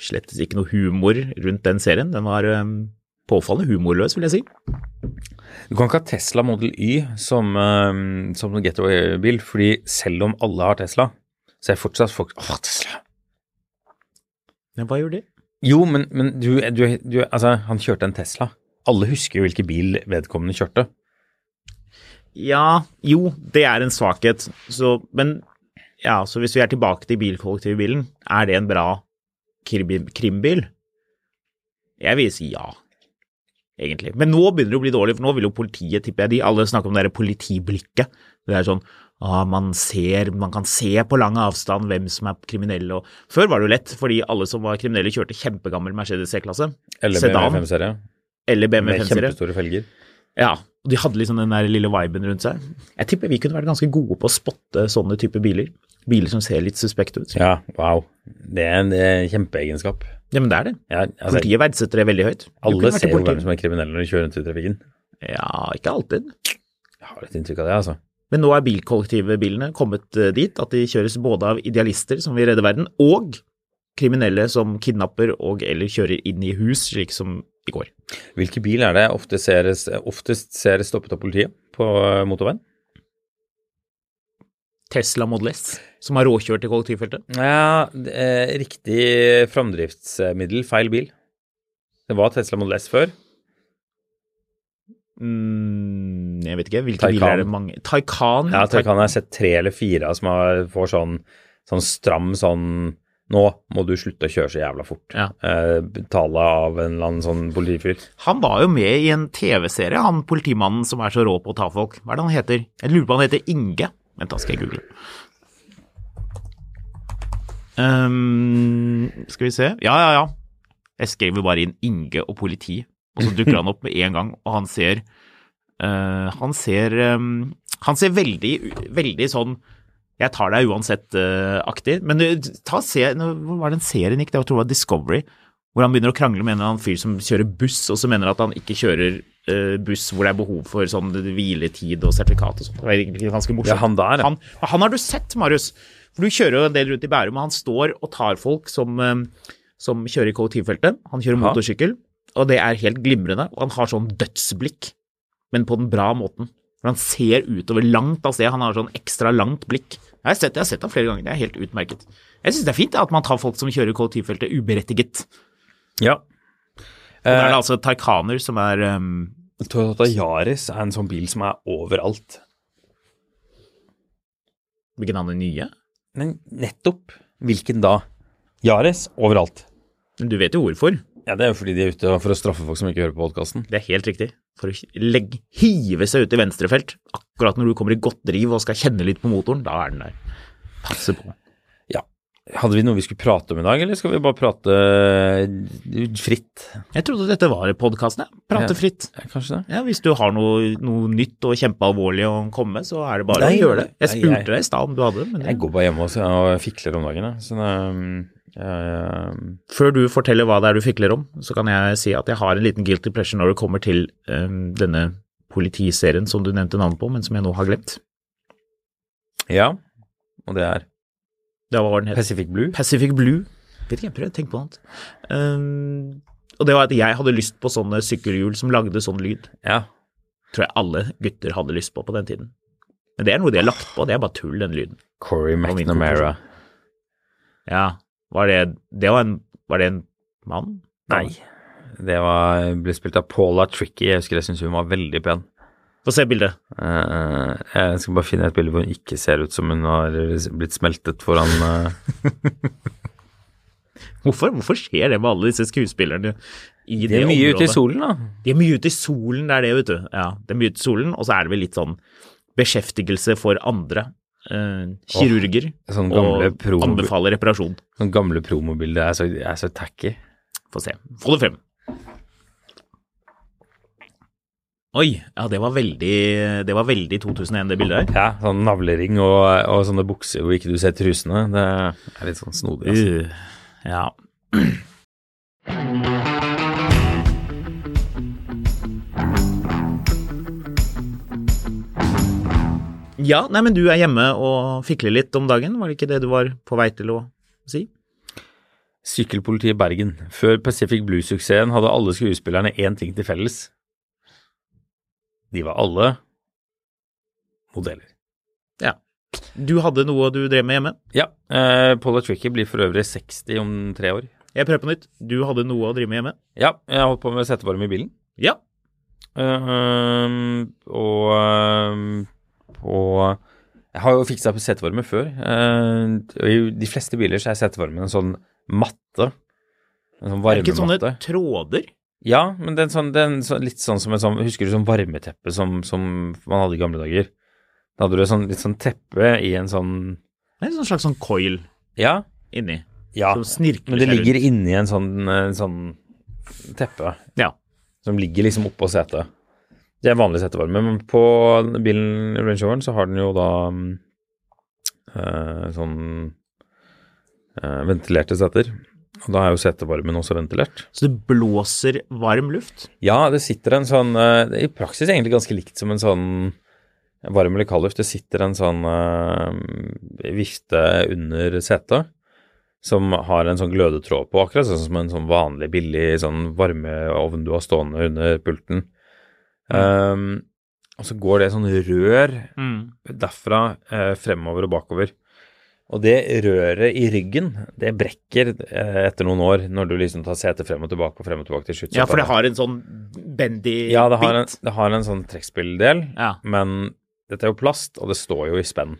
Speaker 1: Slettes ikke noe humor rundt den serien. Den var em, påfallende humorløs, vil jeg si.
Speaker 2: Du kan ikke ha Tesla Model Y som, eh, som en getaway-bil, fordi selv om alle har Tesla, så er fortsatt folk Åh, Tesla!
Speaker 1: Men hva gjør det?
Speaker 2: Jo, men, men du, du, du Altså, han kjørte en Tesla. Alle husker jo hvilken bil vedkommende kjørte.
Speaker 1: Ja, jo, det er en svakhet. Så, men ja, så hvis vi er tilbake til bilkollektivbilen, er det en bra krim- krimbil? Jeg vil si ja, egentlig. Men nå begynner det å bli dårlig, for nå vil jo politiet, tipper jeg, de alle snakker om det der politiblikket. Det er sånn ah, man ser, man kan se på lang avstand hvem som er kriminelle. Og, før var det jo lett, fordi alle som var kriminelle kjørte kjempegammel Mercedes C-klasse.
Speaker 2: Eller med
Speaker 1: Sedan
Speaker 2: BMW5-serie.
Speaker 1: eller BMW
Speaker 2: Med
Speaker 1: 5-serie.
Speaker 2: kjempestore felger.
Speaker 1: Ja, og de hadde liksom den der lille viben rundt seg. Jeg tipper vi kunne vært ganske gode på å spotte sånne type biler. Biler som ser litt suspekte ut. Ja,
Speaker 2: Ja, wow. Det er en det er en kjempeegenskap.
Speaker 1: men det er det.
Speaker 2: Ja, altså,
Speaker 1: Politiet verdsetter det veldig høyt. Du kunne
Speaker 2: alle
Speaker 1: vært i
Speaker 2: ser jo
Speaker 1: politiet.
Speaker 2: hvem som er kriminell når de kjører rundt i trafikken.
Speaker 1: Ja, ikke alltid.
Speaker 2: Jeg har et inntrykk av det, altså.
Speaker 1: Men nå er bilkollektivbilene kommet eh, dit at de kjøres både av idealister som vil redde verden, og kriminelle som kidnapper og eller kjører inn i hus, slik som i går.
Speaker 2: Hvilken bil er det jeg ofte ser, oftest ser stoppet av politiet på eh, motorveien?
Speaker 1: Tesla Model S, som har råkjørt i kollektivfeltet.
Speaker 2: Ja, det er riktig framdriftsmiddel, feil bil. Det var Tesla Model S før.
Speaker 1: Mm, jeg vet ikke, hvilke
Speaker 2: Taycan.
Speaker 1: biler er det mange Taycan.
Speaker 2: Ja, jeg kan ha sett tre eller fire som har, får sånn, sånn stram sånn Nå må du slutte å kjøre så jævla fort.
Speaker 1: Ja.
Speaker 2: Eh, betale av en eller annen sånn politifyr.
Speaker 1: Han var jo med i en TV-serie, han politimannen som er så rå på å ta folk. Hva er det han heter? Jeg lurer på han heter Inge. Vent, da skal jeg google. Ehm, skal vi se. Ja, ja, ja. Jeg skriver bare inn Inge og politi, og så dukker han opp med en gang, og han ser eh, Han ser ehm, Han ser veldig, veldig sånn jeg tar deg uansett-aktig. Men eh, ta se, nå- hvor var den serien gikk? Det var, tror jeg det var Discovery. Hvor han begynner å krangle med en eller annen fyr som kjører buss, og så mener at han ikke kjører eh, buss hvor det er behov for sånn hviletid og sertifikat og sånt. Det var egentlig ganske morsomt.
Speaker 2: Ja, han der, ja.
Speaker 1: Han, han har du sett, Marius. For du kjører jo en del rundt i Bærum, og han står og tar folk som, eh, som kjører i kollektivfeltet. Han kjører
Speaker 2: Ja.
Speaker 1: motorsykkel, og det er helt glimrende. Og han har sånn dødsblikk men på den bra måten. For han ser utover langt av sted, han har sånn ekstra langt blikk. Jeg har sett, jeg har sett ham flere ganger, det er helt utmerket. Jeg syns det er fint ja, at man tar folk som kjører i kollektivfeltet uberettiget.
Speaker 2: Ja.
Speaker 1: Og da
Speaker 2: Eh,
Speaker 1: er det altså taikaner som er ehm,
Speaker 2: Toyota Yaris er en sånn bil som er overalt.
Speaker 1: Hvilken av de nye?
Speaker 2: Men nettopp hvilken da? Yaris overalt.
Speaker 1: Men du vet jo hvorfor.
Speaker 2: Ja, Det er jo fordi de er ute for å straffe folk som ikke hører på podkasten.
Speaker 1: Det er helt riktig. For å legge, hive seg ut i venstrefelt akkurat når du kommer i godt driv og skal kjenne litt på motoren, da er den der. Passe på.
Speaker 2: Ja. Hadde vi noe vi skulle prate om i dag, eller skal vi bare prate eh, fritt?
Speaker 1: Jeg trodde dette var podkasten, jeg. Prate
Speaker 2: Ja.
Speaker 1: fritt.
Speaker 2: Ja, kanskje det.
Speaker 1: Ja, Hvis du har noe, noe nytt og kjempealvorlig å komme med, så er det bare
Speaker 2: Nei,
Speaker 1: å gjøre det. Jeg
Speaker 2: nei,
Speaker 1: spurte
Speaker 2: jeg-
Speaker 1: deg i stad om du hadde det, men
Speaker 2: Jeg går bare hjemme og, og fikler om dagen, jeg. Så det, um, jeg,
Speaker 1: før du forteller hva det er du fikler om, så kan jeg si at jeg har en liten guilty pleasure når det kommer til øhm, denne politiserien som du nevnte navnet på, men som jeg nå har glemt.
Speaker 2: ja. Og det er
Speaker 1: Det var hva den het.
Speaker 2: Pacific Blue.
Speaker 1: Pacific Blue. Vet ikke, jeg prøver å tenke på noe annet. Øhm, og det var at jeg hadde lyst på sånne sykkelhjul som lagde sånn lyd.
Speaker 2: Ja.
Speaker 1: Tror jeg alle gutter hadde lyst på på den tiden. Men det er noe de har lagt på, det er bare tull, den lyden.
Speaker 2: Corey
Speaker 1: var min
Speaker 2: McNamara.
Speaker 1: Ja, var det Det var en Var det en mann?
Speaker 2: Nei. Det var, ble spilt av Paula Tricky. Jeg husker jeg syntes hun var veldig pen.
Speaker 1: Få se bildet.
Speaker 2: Eh, jeg skal bare finne et bilde hvor hun ikke ser ut som hun har blitt smeltet foran (laughs) eh,
Speaker 1: Hvorfor, hvorfor skjer det med alle disse skuespillerne i det,
Speaker 2: De er mye ute i
Speaker 1: området?
Speaker 2: solen, da.
Speaker 1: De er mye ute i solen, det er det, vet du. Ja, det er mye ute i solen, og så er det vel litt sånn beskjeftigelse for andre. eh, kirurger.
Speaker 2: sånn gamle
Speaker 1: og
Speaker 2: promo-
Speaker 1: anbefaler reparasjon.
Speaker 2: Sånn gamle promobilder er så, er så tacky.
Speaker 1: Få se. Få det frem. Oi, ja det var veldig, det var veldig 2001 det bildet her.
Speaker 2: Ja, sånn navlering og, og sånne bukser hvor ikke du ser trusene. Det er litt sånn snodig. Altså.
Speaker 1: Uh, ja. Ja, nei, men du er hjemme og fikler litt om dagen, var det ikke det du var på vei til å si?
Speaker 2: Sykkelpolitiet i Bergen. Før Pacific Blue-suksessen hadde alle skuespillerne én ting til felles. De var alle modeller.
Speaker 1: Ja. Du hadde noe du drev med hjemme.
Speaker 2: Ja, eh, Paula Tricky blir for øvrig 60 om tre år.
Speaker 1: Jeg prøver på nytt. Du hadde noe å drive med hjemme.
Speaker 2: Ja, jeg har holdt på med settevarme i bilen.
Speaker 1: Ja.
Speaker 2: Eh, ehm, og ehm, og jeg har jo fiksa setevarme før. eh, og I de fleste biler så er setevarmen en sånn matte. En sånn
Speaker 1: Er det ikke sånne
Speaker 2: varmematte.
Speaker 1: tråder?
Speaker 2: Ja, men den sånn, den sånn, litt sånn som en sånn Husker du sånn varmeteppe som, som man hadde i gamle dager? Da hadde du et sånn, litt sånn teppe i en sånn
Speaker 1: Det er en sånn slags sånn coil
Speaker 2: Ja.
Speaker 1: inni,
Speaker 2: ja.
Speaker 1: som snirkler
Speaker 2: Men det
Speaker 1: seg
Speaker 2: ligger
Speaker 1: rundt.
Speaker 2: inni en sånn, en sånn teppe.
Speaker 1: Ja.
Speaker 2: som ligger liksom oppå setet. Det er vanlig setevarme, men på bilen Range Roveren så har den jo da mm, eh, sånn eh, ventilerte seter. Og da er jo setevarmen også ventilert.
Speaker 1: Så det blåser varm luft.
Speaker 2: Ja, det sitter en sånn eh, det er I praksis egentlig ganske likt som en sånn varm eller kald luft. Det sitter en sånn eh, vifte under setet som har en sånn glødetråd på, akkurat sånn som en sånn vanlig billig sånn varmeovn du har stående under pulten.
Speaker 1: Mm.
Speaker 2: Um, og så går det sånn rør Mm. derfra eh, fremover og bakover. Og det røret i ryggen, det brekker eh, etter noen år når du liksom tar setet frem og tilbake og frem og tilbake til slutt. så
Speaker 1: Ja, for det
Speaker 2: bare-
Speaker 1: har en sånn bendy
Speaker 2: ja, det har, en,
Speaker 1: bit.
Speaker 2: det har en sånn trekkspilldel,
Speaker 1: Ja.
Speaker 2: men dette er jo plast, og det står jo i spenn.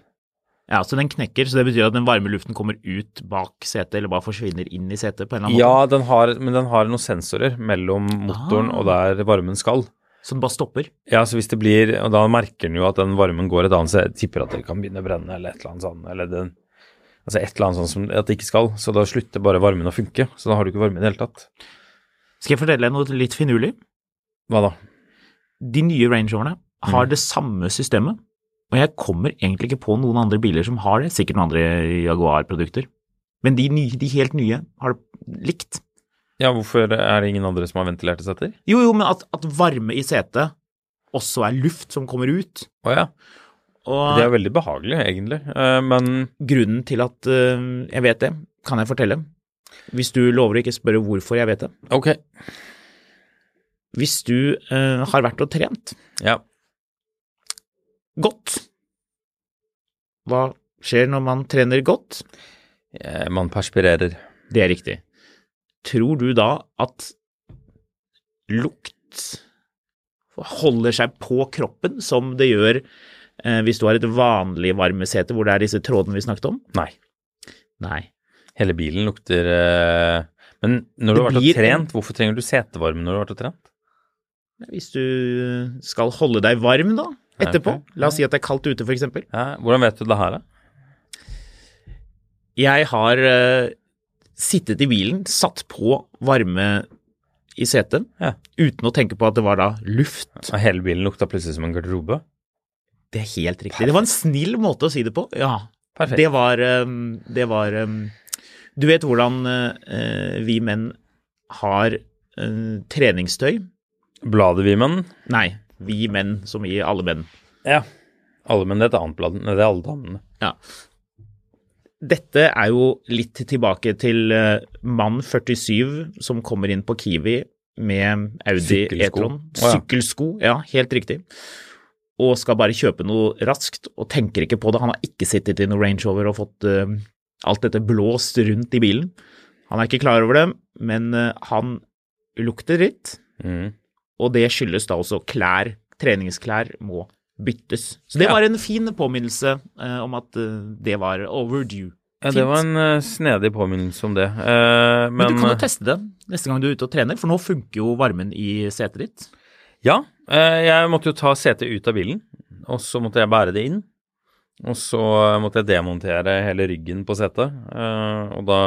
Speaker 1: Ja, så den knekker, så det betyr at den varme luften kommer ut bak setet, eller bare forsvinner inn i setet på en eller annen
Speaker 2: Ja, den har, men den har noen sensorer mellom motoren
Speaker 1: Ah.
Speaker 2: og der varmen skal.
Speaker 1: måte. Så den bare stopper.
Speaker 2: Ja, så hvis det blir Og da merker den jo at den varmen går et annet sted. Jeg Tipper at det kan begynne å brenne, eller et eller annet sånn, eller den Altså et eller annet sånn som at det ikke skal. Så da slutter bare varmen å funke. Så da har du ikke varme i det hele tatt.
Speaker 1: Skal jeg fortelle deg noe litt finurlig?
Speaker 2: Hva da?
Speaker 1: De nye Range Roverne
Speaker 2: Mm.
Speaker 1: har det samme systemet, og jeg kommer egentlig ikke på noen andre biler som har det, sikkert noen andre Jaguar-produkter. Men de, nye, de helt nye har det likt.
Speaker 2: Ja, hvorfor er det ingen andre som har ventilerte setter?
Speaker 1: Jo, jo, men at, at varme i setet også er luft som kommer ut.
Speaker 2: Å ja.
Speaker 1: Og
Speaker 2: Det er jo veldig behagelig, egentlig. Eh, Men
Speaker 1: grunnen til at øh, jeg vet det, kan jeg fortelle. Hvis du lover å ikke spørre hvorfor jeg vet det.
Speaker 2: ok.
Speaker 1: Hvis du øh, har vært og trent
Speaker 2: Ja.
Speaker 1: godt, hva skjer når man trener godt?
Speaker 2: Eh, Man perspirerer.
Speaker 1: Det er riktig. Tror du da at lukt holder seg på kroppen som det gjør Eh, Hvis du har et vanlig varmesete hvor det er disse trådene vi snakket om
Speaker 2: Nei.
Speaker 1: Nei.
Speaker 2: Hele bilen lukter eh, Men når du
Speaker 1: Det
Speaker 2: har vært og
Speaker 1: blir-
Speaker 2: trent, hvorfor trenger du setevarme når du har vært og trent?
Speaker 1: Hvis du skal holde deg varm da, etterpå.
Speaker 2: Ok.
Speaker 1: La oss si at det er kaldt ute, f.eks.
Speaker 2: Ja, hvordan vet du det her, da?
Speaker 1: Jeg har eh, sittet i bilen, satt på varme i setet,
Speaker 2: Ja.
Speaker 1: uten å tenke på at det var da luft.
Speaker 2: Ja, Hele bilen lukta plutselig som en garderobe?
Speaker 1: Det er helt riktig. Det var en snill måte å si det på. Ja.
Speaker 2: Perfekt.
Speaker 1: Det var, eh, det var eh, Du vet hvordan eh, vi menn har eh, treningstøy?
Speaker 2: Bladet vi menn?
Speaker 1: Nei, vi menn som i alle menn.
Speaker 2: Ja. Alle menn, det er et annet blad. Nei, det er alle damene.
Speaker 1: Ja. Dette er jo litt tilbake til eh, mann 47 som kommer inn på Kiwi med Audi
Speaker 2: Sykkelsko.
Speaker 1: E-tron.
Speaker 2: Å, ja.
Speaker 1: Sykkelsko, ja, helt riktig. Og skal bare kjøpe noe raskt og tenker ikke på det. Han har ikke sittet i noen Range Rover og fått eh, alt dette blåst rundt i bilen. Han er ikke klar over det, men eh, han lukter dritt,
Speaker 2: Mm.
Speaker 1: og det skyldes da også klær. Treningsklær må byttes. Så det
Speaker 2: Ja.
Speaker 1: var en fin påminnelse eh, om at eh, det var overdue.
Speaker 2: Ja, det
Speaker 1: Fint.
Speaker 2: var en eh, snedig påminnelse om det. Eh, men,
Speaker 1: Men, du kan
Speaker 2: eh,
Speaker 1: jo teste det neste gang du er ute og trener, for nå funker jo varmen i setet ditt.
Speaker 2: Ja, eh, jeg måtte jo ta setet ut av bilen, og så måtte jeg bære det inn. Og så eh, måtte jeg demontere hele ryggen på setet, eh, og da,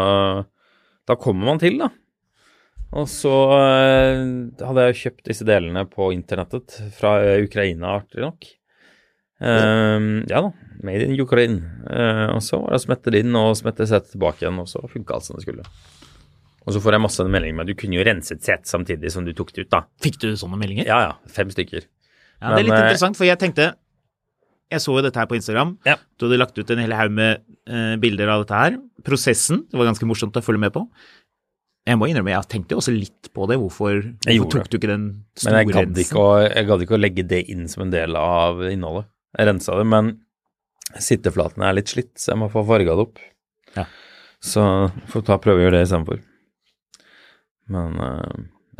Speaker 2: da kommer man til, da. Og så eh, hadde jeg jo kjøpt disse delene på internettet fra eh, Ukraina, artig nok. Eh, ja da, made in Ukraine. Eh, og så var det å smette det inn og smette setet tilbake igjen, og så funka alt som det skulle. Og så får jeg masse meldinger med at du kunne jo renset setet samtidig som du tok det ut, da.
Speaker 1: Fikk du sånne meldinger?
Speaker 2: Ja, ja. Fem stykker.
Speaker 1: Ja, det er
Speaker 2: Men,
Speaker 1: litt
Speaker 2: eh,
Speaker 1: interessant, for jeg tenkte Jeg så jo dette her på Instagram.
Speaker 2: Ja.
Speaker 1: Du hadde lagt ut en hel haug med eh, bilder av dette her. Prosessen det var ganske morsomt å følge med på. Jeg må innrømme, jeg tenkte jo også litt på det. Hvorfor,
Speaker 2: Jeg
Speaker 1: hvorfor
Speaker 2: gjorde
Speaker 1: tok du ikke den
Speaker 2: Men
Speaker 1: store
Speaker 2: jeg gadd, ikke å, jeg gadd ikke å legge det inn som en del av innholdet. Jeg rensa det, men sitteflatene er litt slitt, så jeg må få farga det opp.
Speaker 1: Ja.
Speaker 2: Så får ta prøve å gjøre det istedenfor. Men eh,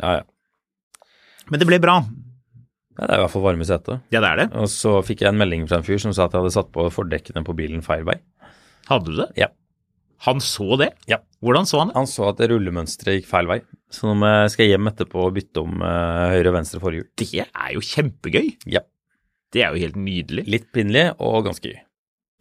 Speaker 2: ja, ja.
Speaker 1: Men det ble bra.
Speaker 2: Ja, Det er i hvert fall varme i setet.
Speaker 1: Ja, det er det.
Speaker 2: Og så fikk jeg en melding fra en fyr som sa at jeg hadde satt på fordekkene på bilen feil vei.
Speaker 1: Hadde du det?
Speaker 2: Ja.
Speaker 1: Han så det?
Speaker 2: Ja.
Speaker 1: Hvordan så han det?
Speaker 2: Han så at rullemønsteret gikk feil vei, så nå må jeg- skal jeg hjem etterpå og bytte om eh, høyre og venstre forhjul.
Speaker 1: Det er jo kjempegøy.
Speaker 2: Ja.
Speaker 1: Det er jo helt nydelig.
Speaker 2: Litt pinlig og ganske gøy.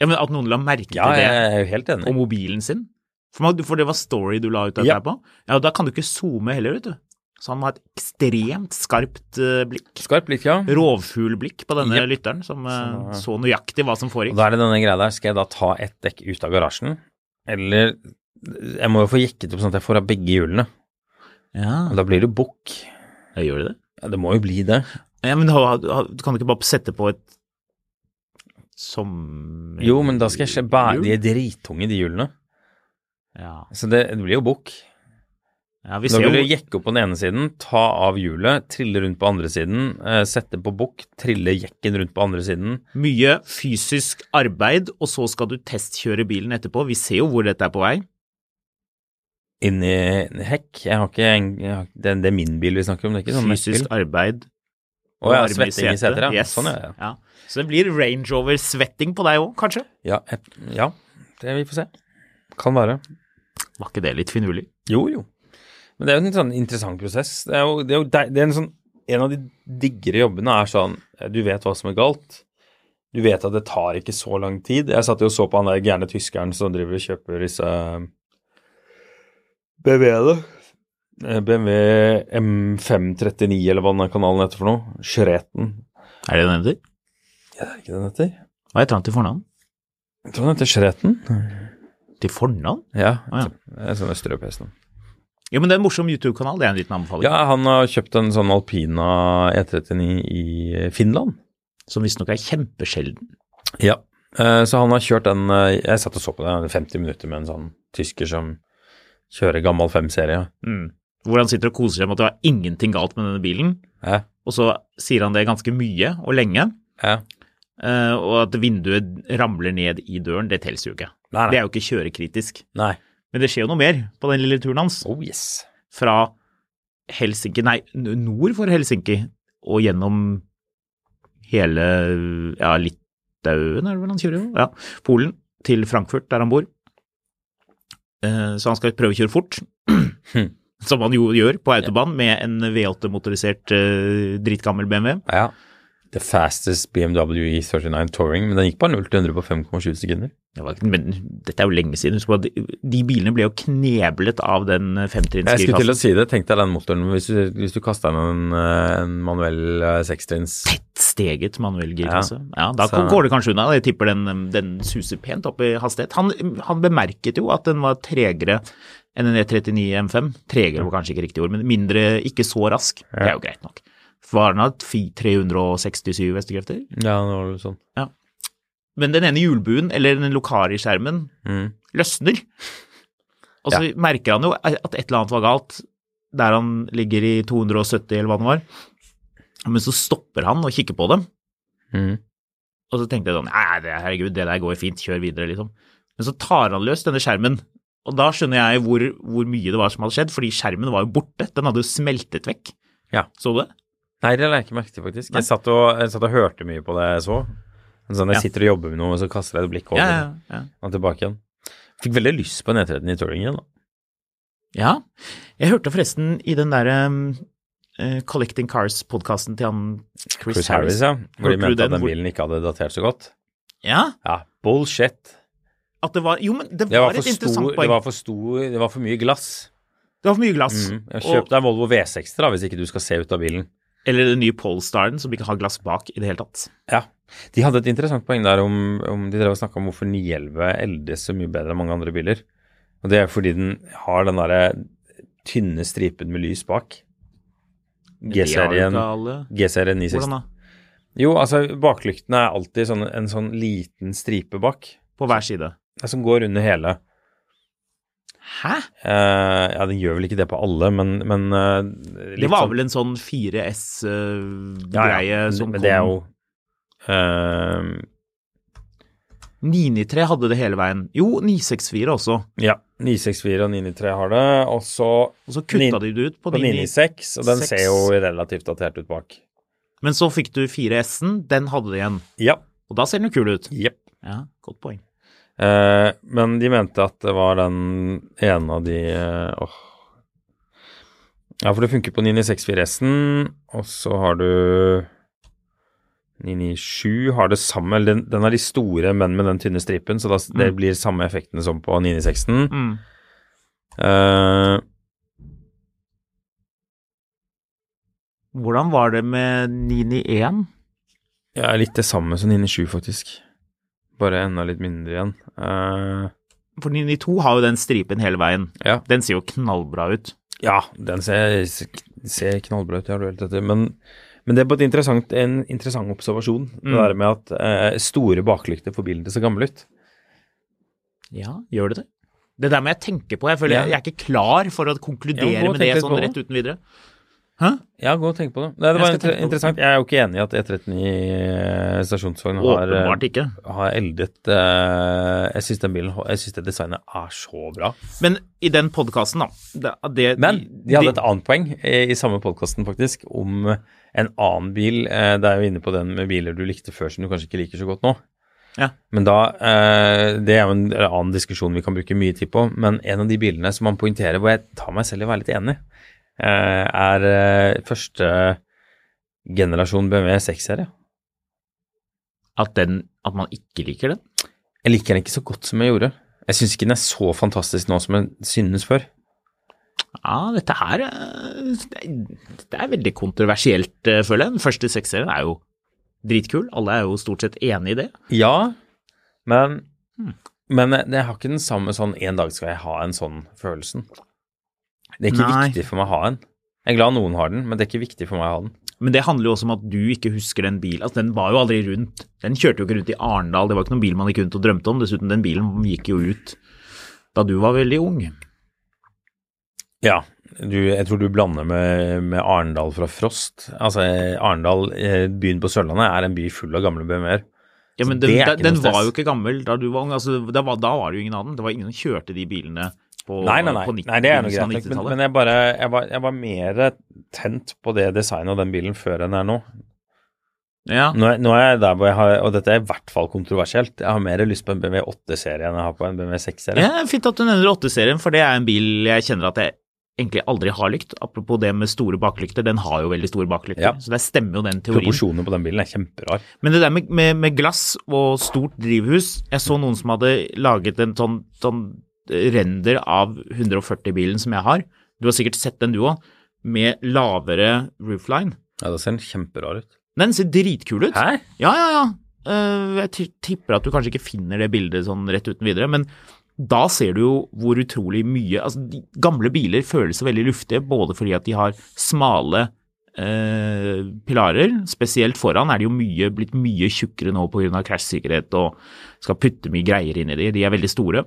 Speaker 1: Ja, men At noen la merke
Speaker 2: Ja,
Speaker 1: til det
Speaker 2: jeg er jo helt enig.
Speaker 1: og mobilen sin. For, man, for det var story du la ut dette
Speaker 2: Ja.
Speaker 1: her på. Ja, og Da kan du ikke zoome heller, vet du. Så han må ha et ekstremt skarpt eh, blikk.
Speaker 2: Skarp blikk, ja.
Speaker 1: Rovfuglblikk på denne
Speaker 2: Jep.
Speaker 1: lytteren, som eh,
Speaker 2: Så-
Speaker 1: så nøyaktig hva som
Speaker 2: Og
Speaker 1: foregikk.
Speaker 2: da er det denne greia der, skal jeg da ta ett dekk ut av garasjen, eller jeg må jo få jekket opp sånn at jeg får av begge hjulene.
Speaker 1: Ja,
Speaker 2: Og da blir det bukk.
Speaker 1: jeg gjør det.
Speaker 2: Ja, det må jo bli det.
Speaker 1: Ja, Men ha- ha- du kan ikke bare sette på et som...
Speaker 2: Jo, men da skal jeg se bære De er drittunge, de hjulene.
Speaker 1: Ja,
Speaker 2: Så det, det blir jo bukk.
Speaker 1: ja vi
Speaker 2: Da
Speaker 1: ser
Speaker 2: blir
Speaker 1: jo
Speaker 2: det å jekke opp på den ene siden, ta av hjulet, trille rundt på andre siden, eh, sette på bukk, trille jekken rundt på andre siden.
Speaker 1: Mye fysisk arbeid, og så skal du testkjøre bilen etterpå. Vi ser jo hvor dette er på vei.
Speaker 2: Inn i en hekk. Jeg har ikke en, jeg har, det, det er min bil vi snakker om, det er ikke sånn
Speaker 1: Fysisk arbeid.
Speaker 2: Å ja,
Speaker 1: varme i
Speaker 2: svetting i setet. Ja.
Speaker 1: Yes.
Speaker 2: Sånn, ja. ja.
Speaker 1: Ja. Så det blir Range Rover-svetting på deg òg, kanskje?
Speaker 2: Ja, jeg, ja, det vi får se. Kan være.
Speaker 1: Var ikke det litt finurlig?
Speaker 2: Jo, jo. Men det er jo en sånn interessant prosess. Det er jo, det er jo deil- det er en sånn En av de diggere jobbene er sånn eh, Du vet hva som er galt. Du vet at det tar ikke så lang tid. Jeg satt jo og så på han der gærne tyskeren som driver og kjøper disse BMW-ene. eh, BMW M539, eller hva den her kanalen heter for noe. Schreten.
Speaker 1: Er det den heter?
Speaker 2: Ja, det er ikke den heter?
Speaker 1: Hva heter han til fornavn?
Speaker 2: Jeg tror den heter Schreten.
Speaker 1: Til fornavn?
Speaker 2: Ja.
Speaker 1: Å, ja.
Speaker 2: Det er sånn østeuropeisk navn.
Speaker 1: Jo, men det er en morsom YouTube-kanal. Det er en liten anbefaling.
Speaker 2: Ja, han har kjøpt en sånn Alpina E39 i Finland.
Speaker 1: Som visstnok er kjempesjelden.
Speaker 2: Ja. eh, Så han har kjørt den eh, Jeg satt og så på det, han hadde 50 minutter med en sånn tysker som kjører gammel 5-serie.
Speaker 1: Mm. Hvor han sitter og koser seg med at det var ingenting galt med denne bilen.
Speaker 2: Ja.
Speaker 1: Og så sier han det ganske mye og lenge.
Speaker 2: Ja.
Speaker 1: eh, Og at vinduet ramler ned i døren, det telles jo ikke.
Speaker 2: Nei,
Speaker 1: Det
Speaker 2: nei.
Speaker 1: er jo ikke kjørekritisk.
Speaker 2: nei.
Speaker 1: Men det skjer jo noe mer på den lille turen hans.
Speaker 2: Oh yes.
Speaker 1: fra Helsinki, nei, n- nord for Helsinki og gjennom hele, ja, litt Litauen, er det vel han kjører jo? Ja. Polen til Frankfurt, der han bor. Eh, Så han skal prøve å kjøre fort, (clears throat) som han jo gjør på autobahn med en V8-motorisert eh, dritgammel BMW.
Speaker 2: Ja. The fastest BMW E39 E touring, men den gikk bare 0 til 100 på 5,7 sekunder.
Speaker 1: Det var, men dette er jo lenge siden. Husk på at de, de bilene ble jo kneblet av den
Speaker 2: Jeg skulle til
Speaker 1: femtrinnsgirkassen.
Speaker 2: å si det. Tenk deg den motoren. Hvis du, hvis du kasta inn en, eh, en manuell eh, sekstrins
Speaker 1: Steget manuell girkasse. altså. Ja, da
Speaker 2: Så-
Speaker 1: går det kanskje unna. Jeg tipper den, den suser pent opp i hastighet. Han, han bemerket jo at den var tregere enn en E39 M5. Tregere var kanskje ikke riktig ord, men mindre, ikke så rask. Det er jo greit nok. Var den av 367 hestekrefter?
Speaker 2: Ja, det var vel sånn.
Speaker 1: Men den ene hjulbuen, eller den Lokari-skjermen,
Speaker 2: Mm.
Speaker 1: løsner. Og så merker han jo at et eller annet var galt der han ligger i 270 eller hva det var. Men så stopper han og kikker på dem,
Speaker 2: Mm.
Speaker 1: og så tenkte jeg sånn Nei, det, herregud, det der går jo fint, kjør videre, liksom. Men så tar han løs denne skjermen, og da skjønner jeg hvor, hvor mye det var som hadde skjedd, fordi skjermen var jo borte, den hadde jo smeltet vekk.
Speaker 2: Ja.
Speaker 1: Så du det?
Speaker 2: Nei, det la jeg ikke merke til, faktisk. Jeg satt, og, jeg satt og hørte mye på det jeg så. Sånn, jeg
Speaker 1: Ja.
Speaker 2: sitter og jobber med noe, og så kaster jeg et blikk over
Speaker 1: Ja, ja, ja.
Speaker 2: og tilbake igjen. Fikk veldig lyst på en E13 i touring igjen, da.
Speaker 1: Ja. Jeg hørte forresten i den derre Collecting Cars-podkasten til han Chris,
Speaker 2: Chris Harris, ja. Hvor
Speaker 1: Hørte
Speaker 2: de
Speaker 1: du
Speaker 2: mente
Speaker 1: den
Speaker 2: at den
Speaker 1: hvor-
Speaker 2: bilen ikke hadde datert så godt.
Speaker 1: Ja,
Speaker 2: Ja, bullshit.
Speaker 1: at det var Jo, men det var,
Speaker 2: Det var
Speaker 1: et
Speaker 2: for
Speaker 1: interessant
Speaker 2: stor,
Speaker 1: poeng.
Speaker 2: det var for, stor, det var for mye glass.
Speaker 1: mye glass.
Speaker 2: Mm. Ja, Kjøp
Speaker 1: Og,
Speaker 2: deg en Volvo V60 da, hvis ikke du skal se ut av bilen.
Speaker 1: eller den nye Polestaren som ikke har glass bak i det hele tatt.
Speaker 2: Ja. De hadde et interessant poeng der om, om de drev og snakka om hvorfor 911 eldes så mye bedre enn mange andre biler. Og det er fordi den har den derre tynne stripen med lys bak. G-serien
Speaker 1: G-serien.
Speaker 2: G-serien 960.
Speaker 1: Hvordan da?
Speaker 2: Jo, altså baklyktene er alltid sånn, en sånn liten stripe bak,
Speaker 1: På hver side.
Speaker 2: eh, som går under hele.
Speaker 1: Hæ?
Speaker 2: Eh, ja, den gjør vel ikke det på alle, men, men eh,
Speaker 1: Det
Speaker 2: litt
Speaker 1: var
Speaker 2: sånn-
Speaker 1: vel en sånn 4S-greie som kom
Speaker 2: men det er jo eh,
Speaker 1: 993 hadde det hele veien. Jo, 964 også.
Speaker 2: Ja. 964 og 993 har det, og så
Speaker 1: Og så
Speaker 2: Nin-
Speaker 1: kutta de det ut på,
Speaker 2: på
Speaker 1: 996.
Speaker 2: 996, og den
Speaker 1: seks.
Speaker 2: ser jo relativt datert ut bak.
Speaker 1: Men så fikk du 4S-en, den hadde det igjen.
Speaker 2: Ja.
Speaker 1: Og da ser den jo kul ut.
Speaker 2: Jepp.
Speaker 1: Ja, godt poeng.
Speaker 2: Eh, men de mente at det var den ene av de eh, åh. Ja, for det funker på 964S-en, og så har du 997 har det samme eller Den, den har de store, men med den tynne stripen, så da, det
Speaker 1: Mm.
Speaker 2: blir samme effektene som på 996-en.
Speaker 1: Mm.
Speaker 2: Eh,
Speaker 1: Hvordan var det med 991?
Speaker 2: ja, litt det samme som 997, faktisk. Bare enda litt mindre igjen. Eh,
Speaker 1: For 992 har jo den stripen hele veien.
Speaker 2: ja.
Speaker 1: Den ser jo knallbra ut.
Speaker 2: Ja, den ser, ser knallbra ut, det har du helt rett i. Men, men det er bare et interessant, en interessant observasjon.
Speaker 1: Mm.
Speaker 2: Det der med at eh, store baklykter får bilen til å se gammel ut.
Speaker 1: Ja, gjør det det? Det der må jeg tenke på. Jeg føler
Speaker 2: Ja.
Speaker 1: jeg, jeg er ikke klar for å konkludere
Speaker 2: Ja, gå og
Speaker 1: med
Speaker 2: tenk
Speaker 1: det
Speaker 2: litt
Speaker 1: sånn
Speaker 2: på det.
Speaker 1: rett uten videre.
Speaker 2: Ja, gå og tenk på det. Nei,
Speaker 1: Jeg
Speaker 2: det var
Speaker 1: skal
Speaker 2: inter
Speaker 1: tenke på det.
Speaker 2: interessant. Jeg er jo ikke enig i at E39 eh, stasjonsvogn har, eh,
Speaker 1: Åpenbart ikke.
Speaker 2: har eldet eh, Jeg syns den bilen Jeg syns det designet er så bra.
Speaker 1: Men i den podkasten, da det, det,
Speaker 2: Men de hadde et annet poeng eh, i samme podkasten, faktisk, om eh, en annen bil. Eh, det er jo inne på den med biler du likte før som du kanskje ikke liker så godt nå.
Speaker 1: Ja.
Speaker 2: Men da, eh, Det er jo en annen diskusjon vi kan bruke mye tid på, men en av de bilene som han poengterer, hvor jeg tar meg selv i å være litt enig, eh, er eh, første generasjon BMW 6-serie.
Speaker 1: at, den, at man ikke liker den?
Speaker 2: Jeg liker den ikke så godt som jeg gjorde. Jeg syns ikke den er så fantastisk nå som den synes før.
Speaker 1: Ja, dette her eh, Det er veldig kontroversielt, eh, føler jeg. Den første seksserien er jo dritkul. Alle er jo stort sett enig i det.
Speaker 2: Ja, men,
Speaker 1: Hmm.
Speaker 2: men jeg har ikke den samme sånn en dag skal jeg ha en sånn følelsen. Det er ikke
Speaker 1: Nei.
Speaker 2: viktig for meg å ha en. Jeg er glad noen har den, men det er ikke viktig for meg å ha den.
Speaker 1: Men det handler jo også om at du ikke husker den bilen. Altså, den var jo aldri rundt. Den kjørte jo ikke rundt i Arendal. Det var ikke noen bil man gikk rundt og drømte om. Dessuten, den bilen gikk jo ut da du var veldig ung.
Speaker 2: Ja, du, jeg tror du blander med, med Arendal fra Frost. Altså, eh, Arendal, eh, byen på Sørlandet, er en by full av gamle BMW-er.
Speaker 1: Ja, men
Speaker 2: Så
Speaker 1: den,
Speaker 2: det er
Speaker 1: den,
Speaker 2: ikke
Speaker 1: den
Speaker 2: noe
Speaker 1: var
Speaker 2: stress.
Speaker 1: jo ikke gammel da du var ung. Altså, da, var, da var det jo ingen annen. Det var ingen som kjørte de bilene på,
Speaker 2: Nei, nei,
Speaker 1: på
Speaker 2: nei.
Speaker 1: 90
Speaker 2: nei det er noe
Speaker 1: begynnelsen
Speaker 2: greit.
Speaker 1: av
Speaker 2: nok, Men,
Speaker 1: 90-tallet.
Speaker 2: men jeg, bare, jeg, var, jeg var mer tent på det designet av den bilen før enn jeg er nå.
Speaker 1: Ja.
Speaker 2: Nå er, nå er jeg der hvor jeg har, og dette er i hvert fall kontroversielt, jeg har mer lyst på en BMW 8-serie enn jeg har på en BMW 6-serie.
Speaker 1: Ja, fint at du nevner 8-serien, for det er en bil jeg kjenner at jeg egentlig aldri har lykt. Apropos det med store baklykter, den har jo veldig store baklykter,
Speaker 2: Ja.
Speaker 1: så det stemmer jo den teorien.
Speaker 2: Proporsjonene på den bilen er kjemperar.
Speaker 1: Men det der med, med, med glass og stort drivhus Jeg så noen som hadde laget en sånn, sånn render av 140-bilen som jeg har. Du har sikkert sett den du òg, med lavere roofline.
Speaker 2: Ja, da ser den kjemperar ut.
Speaker 1: Den ser dritkul ut.
Speaker 2: Hæ?
Speaker 1: Ja, ja, ja. Eh, jeg ti- tipper at du kanskje ikke finner det bildet sånn rett uten videre, men da ser du jo hvor utrolig mye Altså, de gamle biler føles så veldig luftige, både fordi at de har smale eh, pilarer, spesielt foran er de jo mye, blitt mye tjukkere nå pga. krasjsikkerhet og skal putte mye greier inn i de, de er veldig store.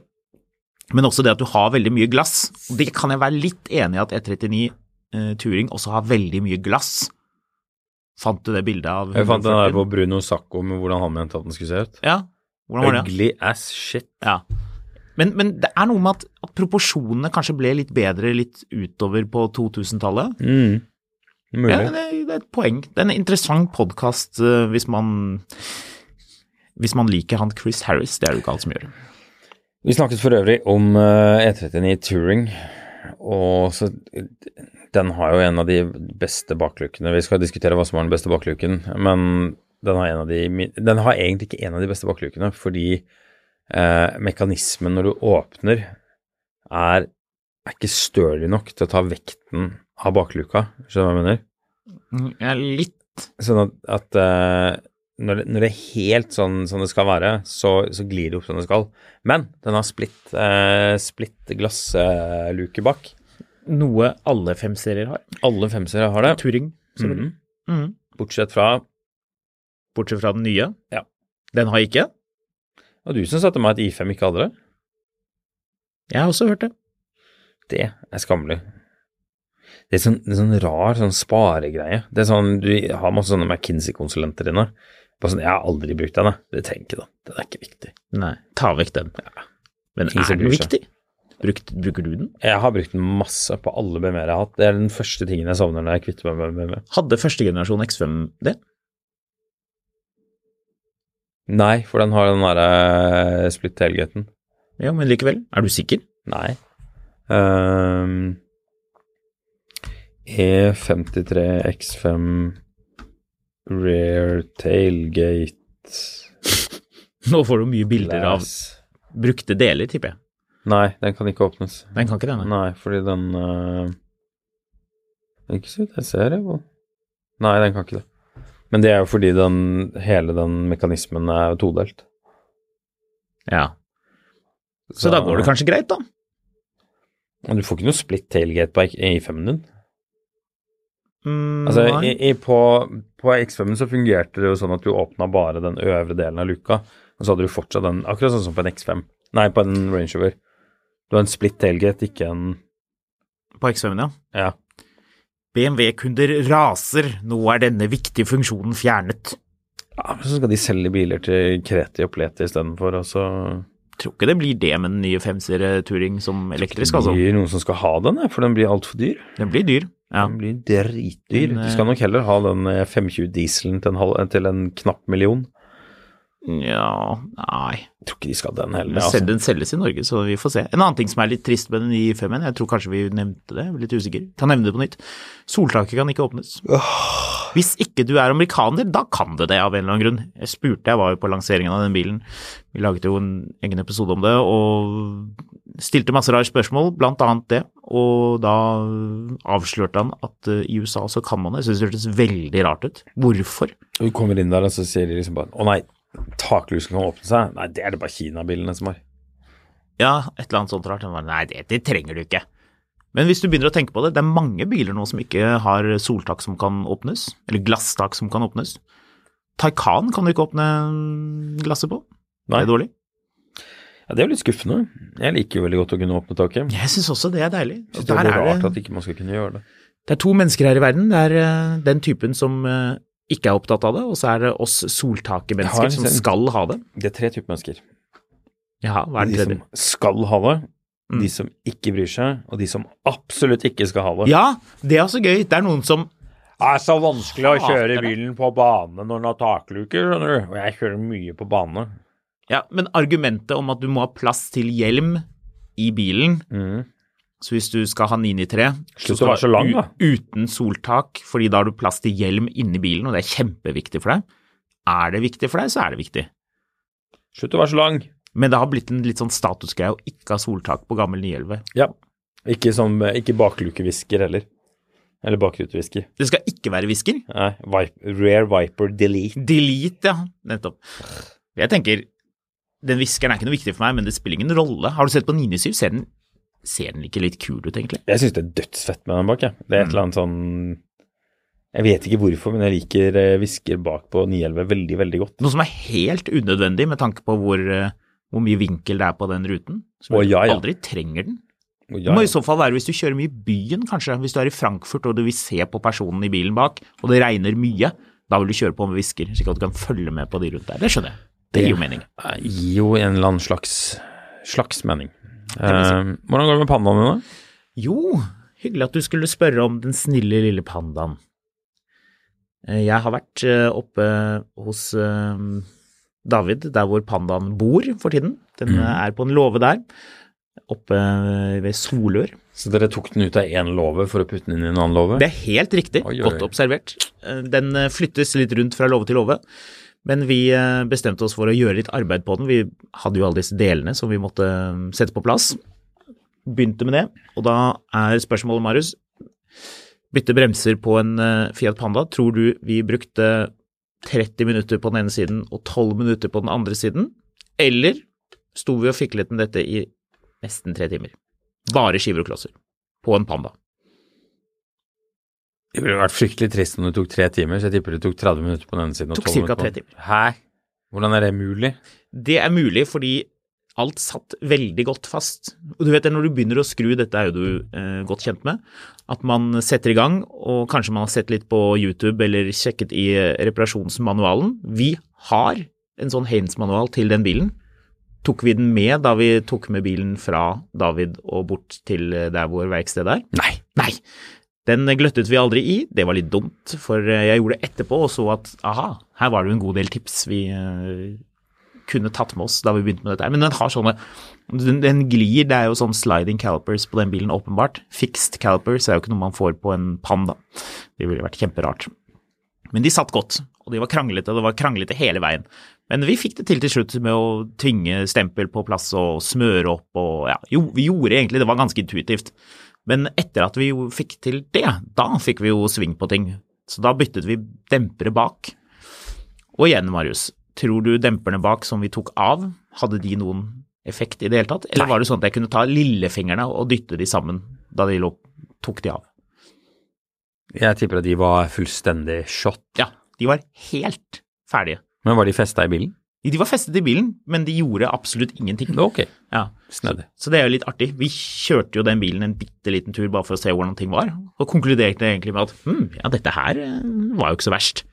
Speaker 1: Men også det at du har veldig mye glass. Og Det kan jeg være litt enig i at E39 eh, Touring også har veldig mye glass. Fant du det bildet av
Speaker 2: Jeg fant den der
Speaker 1: 140?
Speaker 2: på Bruno Sacco med hvordan han mente at den skulle se ut.
Speaker 1: Ja, hvordan var det?
Speaker 2: Ugly as shit.
Speaker 1: Ja. Men, men det er noe med at, at proporsjonene kanskje ble litt bedre litt utover på 2000-tallet.
Speaker 2: Mm. Mulig.
Speaker 1: Ja, det, det er et poeng. Det er en interessant podkast hvis, man- hvis man liker han Chris Harris. Det er det jo ikke alle som gjør.
Speaker 2: Vi snakket for øvrig om eh, E39 Touring, og så den har jo en av de beste baklukene. Vi skal diskutere hva som er den beste bakluken, men den har, en av de, mi- den har egentlig ikke en av de beste baklukene, fordi eh, mekanismen når du åpner er, er ikke størlig nok til å ta vekten av bakluka, skjønner du hva jeg mener?
Speaker 1: Jeg er Mm, litt
Speaker 2: Sånn at, at eh, når, det, når det er helt sånn som det skal være, så, så glir det opp som det skal. Men den har splitt, eh, splitt glassluke bak.
Speaker 1: Noe alle fem serier har.
Speaker 2: Alle femsere har det,
Speaker 1: Turing, selvfølgelig.
Speaker 2: Mhm.
Speaker 1: Mhm.
Speaker 2: bortsett fra
Speaker 1: Bortsett fra den nye.
Speaker 2: Ja.
Speaker 1: Den har ikke.
Speaker 2: Og du som satte meg at I5 ikke hadde det.
Speaker 1: Jeg har også hørt det.
Speaker 2: Det er skammelig. Det er sånn, det er sånn rar sånn sparegreie. Det er sånn, Du har masse sånne McKinsey-konsulenter inne. Bare sånn, Jeg har aldri brukt den, jeg. Det trenger ikke den. Den er ikke viktig.
Speaker 1: Nei, ta vekk den. Men
Speaker 2: Ingen
Speaker 1: er
Speaker 2: som
Speaker 1: den
Speaker 2: bryr seg.
Speaker 1: viktig? Brukt, bruker du den?
Speaker 2: Jeg har brukt den masse på alle BMW-er jeg har hatt. Det er den første tingen jeg savner når jeg kvitter meg med BMW.
Speaker 1: Hadde første generasjon X5 det?
Speaker 2: Nei, for den har den derre split tailgaten.
Speaker 1: Ja, men likevel. Er du sikker? (laughs)
Speaker 2: Nei. Ehm, E E53 X5 Rear tailgate
Speaker 1: Nå får du mye bilder av
Speaker 2: glass.
Speaker 1: brukte deler, tipper jeg.
Speaker 2: Nei, den kan ikke åpnes.
Speaker 1: Den kan ikke denne.
Speaker 2: Nei, fordi den eh, det er Ikke så vidt jeg ser, jeg. hvor- Nei, den kan ikke det. Men det er jo fordi den, hele den mekanismen er todelt.
Speaker 1: Ja. Så da går det kanskje greit, da.
Speaker 2: Men Du får ikke noe split tailgate på E5-en din.
Speaker 1: Mm,
Speaker 2: Altså,
Speaker 1: nei.
Speaker 2: i, i, på, på X5 så fungerte det jo sånn at du åpna bare den øvre delen av luka, og så hadde du fortsatt den, akkurat sånn som på en X5. Nei, på en Range Rover. Du har en split tailgate, ikke en
Speaker 1: På X5-en, ja.
Speaker 2: Ja.
Speaker 1: BMW-kunder raser, nå er denne viktige funksjonen fjernet.
Speaker 2: ja men så skal de selge biler til Kreti og Pleti istedenfor, og så
Speaker 1: Tror ikke det blir det med den nye 5-serie Touring som elektrisk, altså.
Speaker 2: blir det noen som skal ha den, ja, for den blir altfor dyr.
Speaker 1: Den blir dyr. Ja.
Speaker 2: Den blir dritdyr.
Speaker 1: Men,
Speaker 2: Du skal
Speaker 1: eh,
Speaker 2: nok heller ha den eh, 520 dieselen til en, halv, til en knapp million.
Speaker 1: Nja, nei.
Speaker 2: Jeg tror ikke de skal ha den
Speaker 1: Den
Speaker 2: heller.
Speaker 1: sel-
Speaker 2: Altså.
Speaker 1: Den selges i Norge, så vi får se. En annen ting som er litt trist med den nye 5-en, jeg tror kanskje vi nevnte det, jeg er litt usikker, kan nevne det på nytt. Soltaket kan ikke åpnes. Hvis ikke du er amerikaner, da kan det det av en eller annen grunn. Jeg spurte, jeg var jo på lanseringen av den bilen, vi laget jo en egen episode om det, og stilte masse rare spørsmål, blant annet det, og da avslørte han at eh, i USA så kan man det. Jeg synes det hørtes veldig rart ut. Hvorfor?
Speaker 2: Du kommer inn der, og så sier de liksom bare Å nei, taklusen kan åpne seg. Nei, det er det bare Kina-bilene som har.
Speaker 1: Ja, et eller annet sånt rart. Han bare, Nei, det, det trenger du ikke. Men hvis du begynner å tenke på det, det er mange biler nå som ikke har soltak som kan åpnes, eller glasstak som kan åpnes. Taycan kan du ikke åpne glasset på. Det
Speaker 2: Nei.
Speaker 1: er dårlig.
Speaker 2: Ja, Det er jo litt skuffende. Jeg liker jo veldig godt å kunne åpne taket.
Speaker 1: Jeg syns også det er deilig.
Speaker 2: Så det
Speaker 1: Der
Speaker 2: er
Speaker 1: er
Speaker 2: rart
Speaker 1: det,
Speaker 2: at ikke man skal kunne gjøre det.
Speaker 1: det er to mennesker her i verden. Det er eh, den typen som eh, ikke er opptatt av det, og så er det oss
Speaker 2: Jeg har en
Speaker 1: soltakemennesker som
Speaker 2: sen-
Speaker 1: skal ha det.
Speaker 2: Det er tre typer mennesker.
Speaker 1: Jaha, hva er
Speaker 2: De
Speaker 1: den
Speaker 2: som
Speaker 1: tredje?
Speaker 2: skal ha det,
Speaker 1: Mm.
Speaker 2: de som ikke bryr seg, og de som absolutt ikke skal ha det.
Speaker 1: Ja, det er også gøy. Det er noen som
Speaker 3: Det er så vanskelig å kjøre bilen på bane når den har takluker, skjønner du. Og jeg kjører mye på bane.
Speaker 1: Ja, men argumentet om at du må ha plass til hjelm i bilen,
Speaker 2: Mm.
Speaker 1: så hvis du skal ha 993,
Speaker 3: Slutt å være så lang, da.
Speaker 1: uten soltak, fordi da har du plass til hjelm inni bilen, og det er kjempeviktig for deg. Er det viktig for deg, så er det viktig.
Speaker 3: Slutt å være så lang.
Speaker 1: Men det har blitt en litt sånn statusgreie å ikke ha soltak på gammel 911.
Speaker 3: Ja. Ikke, sånn, ikke baklukevisker heller. Eller bakrutevisker.
Speaker 1: Det skal ikke være hvisker.
Speaker 3: Nei, Viper, Rare Viper Delete.
Speaker 1: Delete, ja. Nettopp. Jeg tenker, den hviskeren er ikke noe viktig for meg, men det spiller ingen rolle. Har du sett på 997, ser den, ser den ikke litt kul ut, egentlig?
Speaker 3: Jeg syns det er dødsfett med den bak, jeg. Det er et eller annet sånn Jeg vet ikke hvorfor, men jeg liker eh, hvisker bak på 911 veldig, veldig godt.
Speaker 1: Noe som er helt unødvendig med tanke på hvor, eh, hvor mye vinkel det er på den ruten. Som
Speaker 3: Å, ja,
Speaker 1: du
Speaker 3: ja.
Speaker 1: aldri trenger den.
Speaker 3: Og
Speaker 1: Det
Speaker 3: ja,
Speaker 1: må i
Speaker 3: ja.
Speaker 1: så fall være hvis du kjører mye i byen, kanskje. Hvis du er i Frankfurt og du vil se på personen i bilen bak, og det regner mye. Da vil du kjøre på med hvisker, slik at du kan følge med på de rundt der. Det skjønner jeg. Det gir jo mening.
Speaker 3: Det gir jo en eller annen slags, slags mening. Eh, hvordan går det med pandaen din, da?
Speaker 1: Jo, hyggelig at du skulle spørre om den snille lille pandaen. Eh, Jeg har vært eh, oppe hos eh, David, der hvor pandaen bor for tiden. Den eh, er på en låve der, oppe eh, ved Solør.
Speaker 3: Så dere tok den ut av én låve for å putte den inn i en annen låve?
Speaker 1: Det er helt riktig,
Speaker 3: Oi, oi, oi.
Speaker 1: godt observert. Eh, Den eh, flyttes litt rundt fra låve til låve, men vi eh, bestemte oss for å gjøre litt arbeid på den. Vi hadde jo alle disse delene som vi måtte eh, sette på plass. Begynte med det, og da er spørsmålet, Marius, bytte bremser på en eh, Fiat Panda. Tror du vi brukte 30 minutter på den ene siden og 12 minutter på den andre siden, eller sto vi og fiklet med dette i nesten tre timer? Bare skiver og klosser på en Panda.
Speaker 3: Det ville vært fryktelig trist om det tok tre timer, så jeg tipper det tok 30 minutter på den ene siden. og
Speaker 1: Tok
Speaker 3: 12
Speaker 1: cirka
Speaker 3: minutter på
Speaker 1: tre
Speaker 3: den. Hæ? Hvordan er det mulig?
Speaker 1: Det er mulig fordi alt satt veldig godt fast. Og du vet det, når du begynner å skru, dette er jo du eh, godt kjent med, at man setter i gang, og kanskje man har sett litt på YouTube eller sjekket i eh, reparasjonsmanualen. Vi har en sånn Haines-manual til den bilen. Tok vi den med da vi tok med bilen fra David og bort til eh, der hvor verkstedet er?
Speaker 3: Nei.
Speaker 1: Nei. Den gløttet vi aldri i, det var litt dumt, for eh, jeg gjorde det etterpå og så at aha, her var det jo en god del tips vi eh, kunne tatt med oss da vi begynte med dette. her. Men den har sånne den, den glir, det er jo sånn sliding calipers på den bilen, åpenbart. Fixed calipers er jo ikke noe man får på en Panda. Det ville vært kjemperart. Men de satt godt, og de var kranglete, og det var kranglete hele veien. Men vi fikk det til til slutt med å tvinge stempel på plass og smøre opp og ja, jo, vi gjorde egentlig, det var ganske intuitivt. Men etter at vi jo fikk til det, da fikk vi jo sving på ting. Så da byttet vi dempere bak. Og igjen, Marius, tror du demperne bak som vi tok av, hadde de noen effekt i det hele tatt? Eller var det sånn at jeg kunne ta lillefingrene og dytte de sammen da de lå, tok de av?
Speaker 3: Jeg tipper at de var fullstendig shot.
Speaker 1: Ja, de var helt ferdige.
Speaker 3: Men var de festa i bilen?
Speaker 1: De var festet i bilen, men de gjorde absolutt ingenting.
Speaker 3: Ok,
Speaker 1: Ja.
Speaker 3: snedig.
Speaker 1: Så det er jo litt artig. Vi kjørte jo den bilen en bitte liten tur bare for å se hvordan ting var, og konkluderte egentlig med at hm, ja, dette her eh, var jo ikke så verst.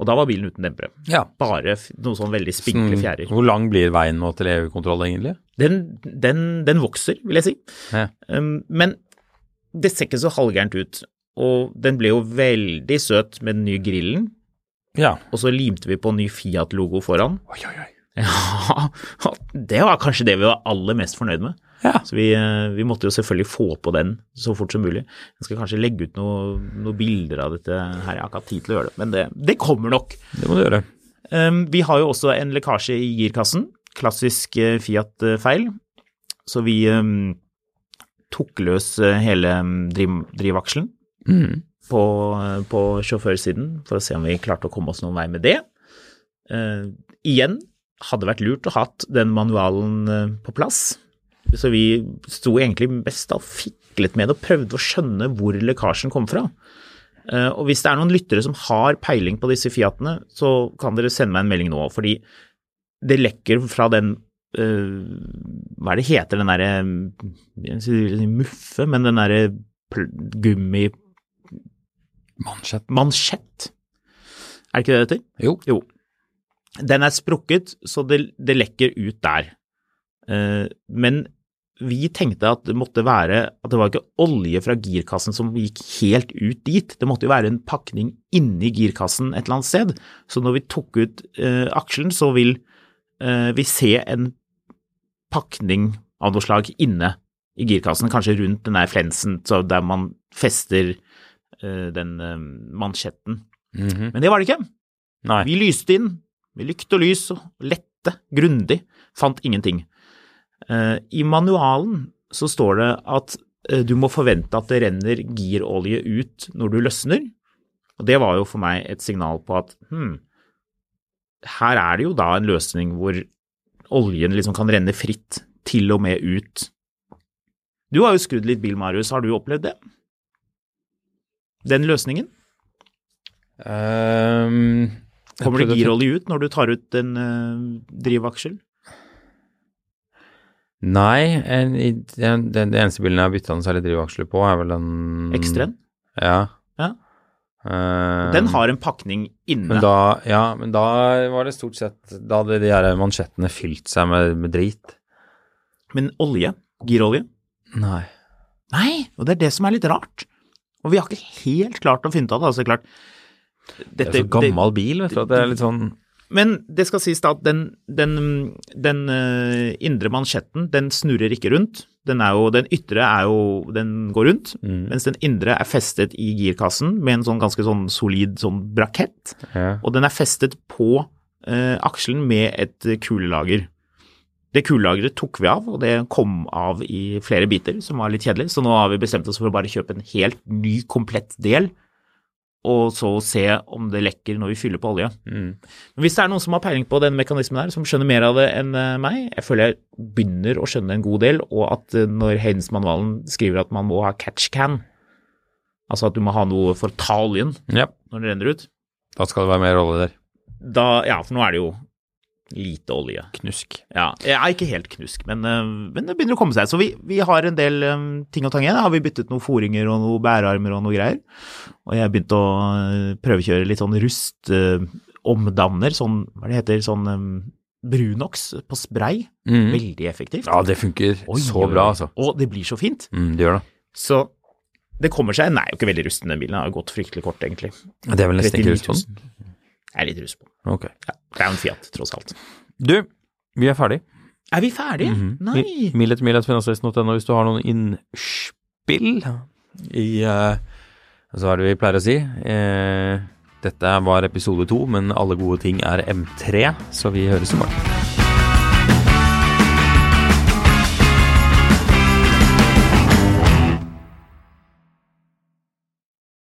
Speaker 1: Og da var bilen uten dempere.
Speaker 3: Ja.
Speaker 1: Bare f- noen sånn veldig spinkle
Speaker 2: Mm.
Speaker 1: fjærer.
Speaker 3: Hvor lang blir veien nå
Speaker 2: E
Speaker 3: til EU-kontroll, egentlig?
Speaker 1: Den, den, den vokser, vil jeg si.
Speaker 3: Ja.
Speaker 1: Um, men det ser ikke så halvgærent ut. Og den ble jo veldig søt med den nye grillen,
Speaker 3: ja.
Speaker 1: og så limte vi på en ny Fiat-logo foran.
Speaker 3: Oi, oi, oi.
Speaker 1: (laughs) Ja, det var kanskje det vi var aller mest fornøyd med.
Speaker 3: Ja.
Speaker 1: Så vi, eh, vi måtte jo selvfølgelig få på den så fort som mulig. Jeg skal kanskje legge ut noe- noen bilder av dette her, jeg har ikke hatt tid til å gjøre det, men det, det kommer nok.
Speaker 3: Det må du gjøre.
Speaker 1: Um, vi har jo også en lekkasje i girkassen. Klassisk eh, Fiat-feil. Så vi um, tok løs eh, hele um, driv drivakselen på, eh, på sjåførsiden for å se om vi klarte å komme oss noen vei med det. Eh, igjen hadde vært lurt å hatt den manualen eh, på plass. Så vi sto egentlig mest og fiklet med det og prøvde å skjønne hvor lekkasjen kom fra. Eh, Og hvis det er noen lyttere som har peiling på disse Fiatene, så kan dere sende meg en melding nå, fordi det lekker fra den eh, Hva er det heter, den derre jeg vil si muffe, men den derre pl- gummimansjett
Speaker 3: Mansjett.
Speaker 1: Er det ikke det det heter?
Speaker 3: Jo.
Speaker 1: Jo. Den er sprukket, så det, det lekker ut der. Eh, men vi tenkte at det måtte være at det var ikke olje fra girkassen som gikk helt ut dit, det måtte jo være en pakning inni girkassen et eller annet sted. Så når vi tok ut eh, aksjen, så vil eh, vi se en pakning av noe slag inne i girkassen, kanskje rundt den der flensen så der man fester eh, den eh, mansjetten.
Speaker 2: Mhm.
Speaker 1: Men det var det ikke.
Speaker 2: Nei.
Speaker 1: Vi lyste inn med lykt og lys og lette grundig, fant ingenting. Eh, I manualen så står det at eh, du må forvente at det renner girolje ut når du løsner. Og det var jo for meg et signal på at hm, her er det jo da en løsning hvor oljen liksom kan renne fritt, til og med ut. Du har jo skrudd litt bil, Marius. Har du opplevd det? Den løsningen?
Speaker 2: Ehm, jeg
Speaker 1: Kommer det
Speaker 2: prøvde å tenke-
Speaker 1: girolje ut når du tar ut en eh, drivaksjel?
Speaker 2: Nei, en, i- den, den, den eneste bilen jeg har bytta en særlig drivaksler på, er vel den
Speaker 1: Ekstren?
Speaker 2: Ja.
Speaker 1: Ja.
Speaker 2: Ehm,
Speaker 1: Den har en pakning inne.
Speaker 2: men da, ja, men da var det stort sett Da hadde de her mansjettene fylt seg med, med drit.
Speaker 1: Men olje, girolje
Speaker 2: Nei.
Speaker 1: Nei, og det er det som er litt rart. Og vi har ikke helt klart å finne ut av det. altså klart.
Speaker 2: Det er så gammel bil, vet du, at det er litt sånn
Speaker 1: men det skal sies da at den, den, den eh, indre mansjetten, den snurrer ikke rundt. Den, er jo, den ytre er jo Den går rundt, mens den indre er festet i girkassen med en sånn ganske sånn solid sånn brakett.
Speaker 2: ja.
Speaker 1: og den er festet på eh, akselen med et eh, kulelager. Det kulelageret tok vi av, og det kom av i flere biter, som var litt kjedelig, så nå har vi bestemt oss for å bare kjøpe en helt ny, komplett del, og så se om det lekker når vi fyller på olje. Men hvis det er noen som har peiling på den mekanismen her, som skjønner mer av det enn eh, meg, jeg føler jeg begynner å skjønne en god del, og at eh, når Heidens-manualen skriver at man må ha catch can, altså at du må ha noe for å ta oljen
Speaker 2: ja.
Speaker 1: når det renner ut,
Speaker 2: Da skal det være mer rolle der.
Speaker 1: da, ja, for nå er det jo lite olje.
Speaker 2: Knusk.
Speaker 1: Ja, jeg er Eh, ikke helt knusk, men, eh, men det begynner å komme seg. Så vi, vi har en del eh, ting å ta igjen. Har vi byttet noen foringer og noen bærearmer og noe greier. Og jeg begynte å eh, prøvekjøre litt sånn rustomdanner, sånn, hva det heter, sånn eh, Brunox på spray. Veldig effektivt.
Speaker 2: Mm. Ja, det funker
Speaker 1: Oi,
Speaker 2: så
Speaker 1: oi,
Speaker 2: bra,
Speaker 1: oi.
Speaker 2: altså.
Speaker 1: Og det blir så fint.
Speaker 2: Mm, det gjør det.
Speaker 1: Så det kommer seg. Den er jo ikke veldig rusten, den bilen. Den har jo gått fryktelig kort, egentlig.
Speaker 2: Det er vel nesten
Speaker 1: 39
Speaker 2: ikke rus på
Speaker 1: 000.
Speaker 2: den?
Speaker 1: Jeg er litt rus på den.
Speaker 2: Ok.
Speaker 1: Ja, det er jo en Fiat, tross alt.
Speaker 2: Du, vi er ferdig.
Speaker 1: Er vi ferdige?
Speaker 2: Mhm.
Speaker 1: Nei.
Speaker 2: Milletmilletfinansavisen.no hvis du har noen innspill i eh, Så er det vi pleier å si. eh, dette var episode to, men alle gode ting er M3, så vi høres i morgen.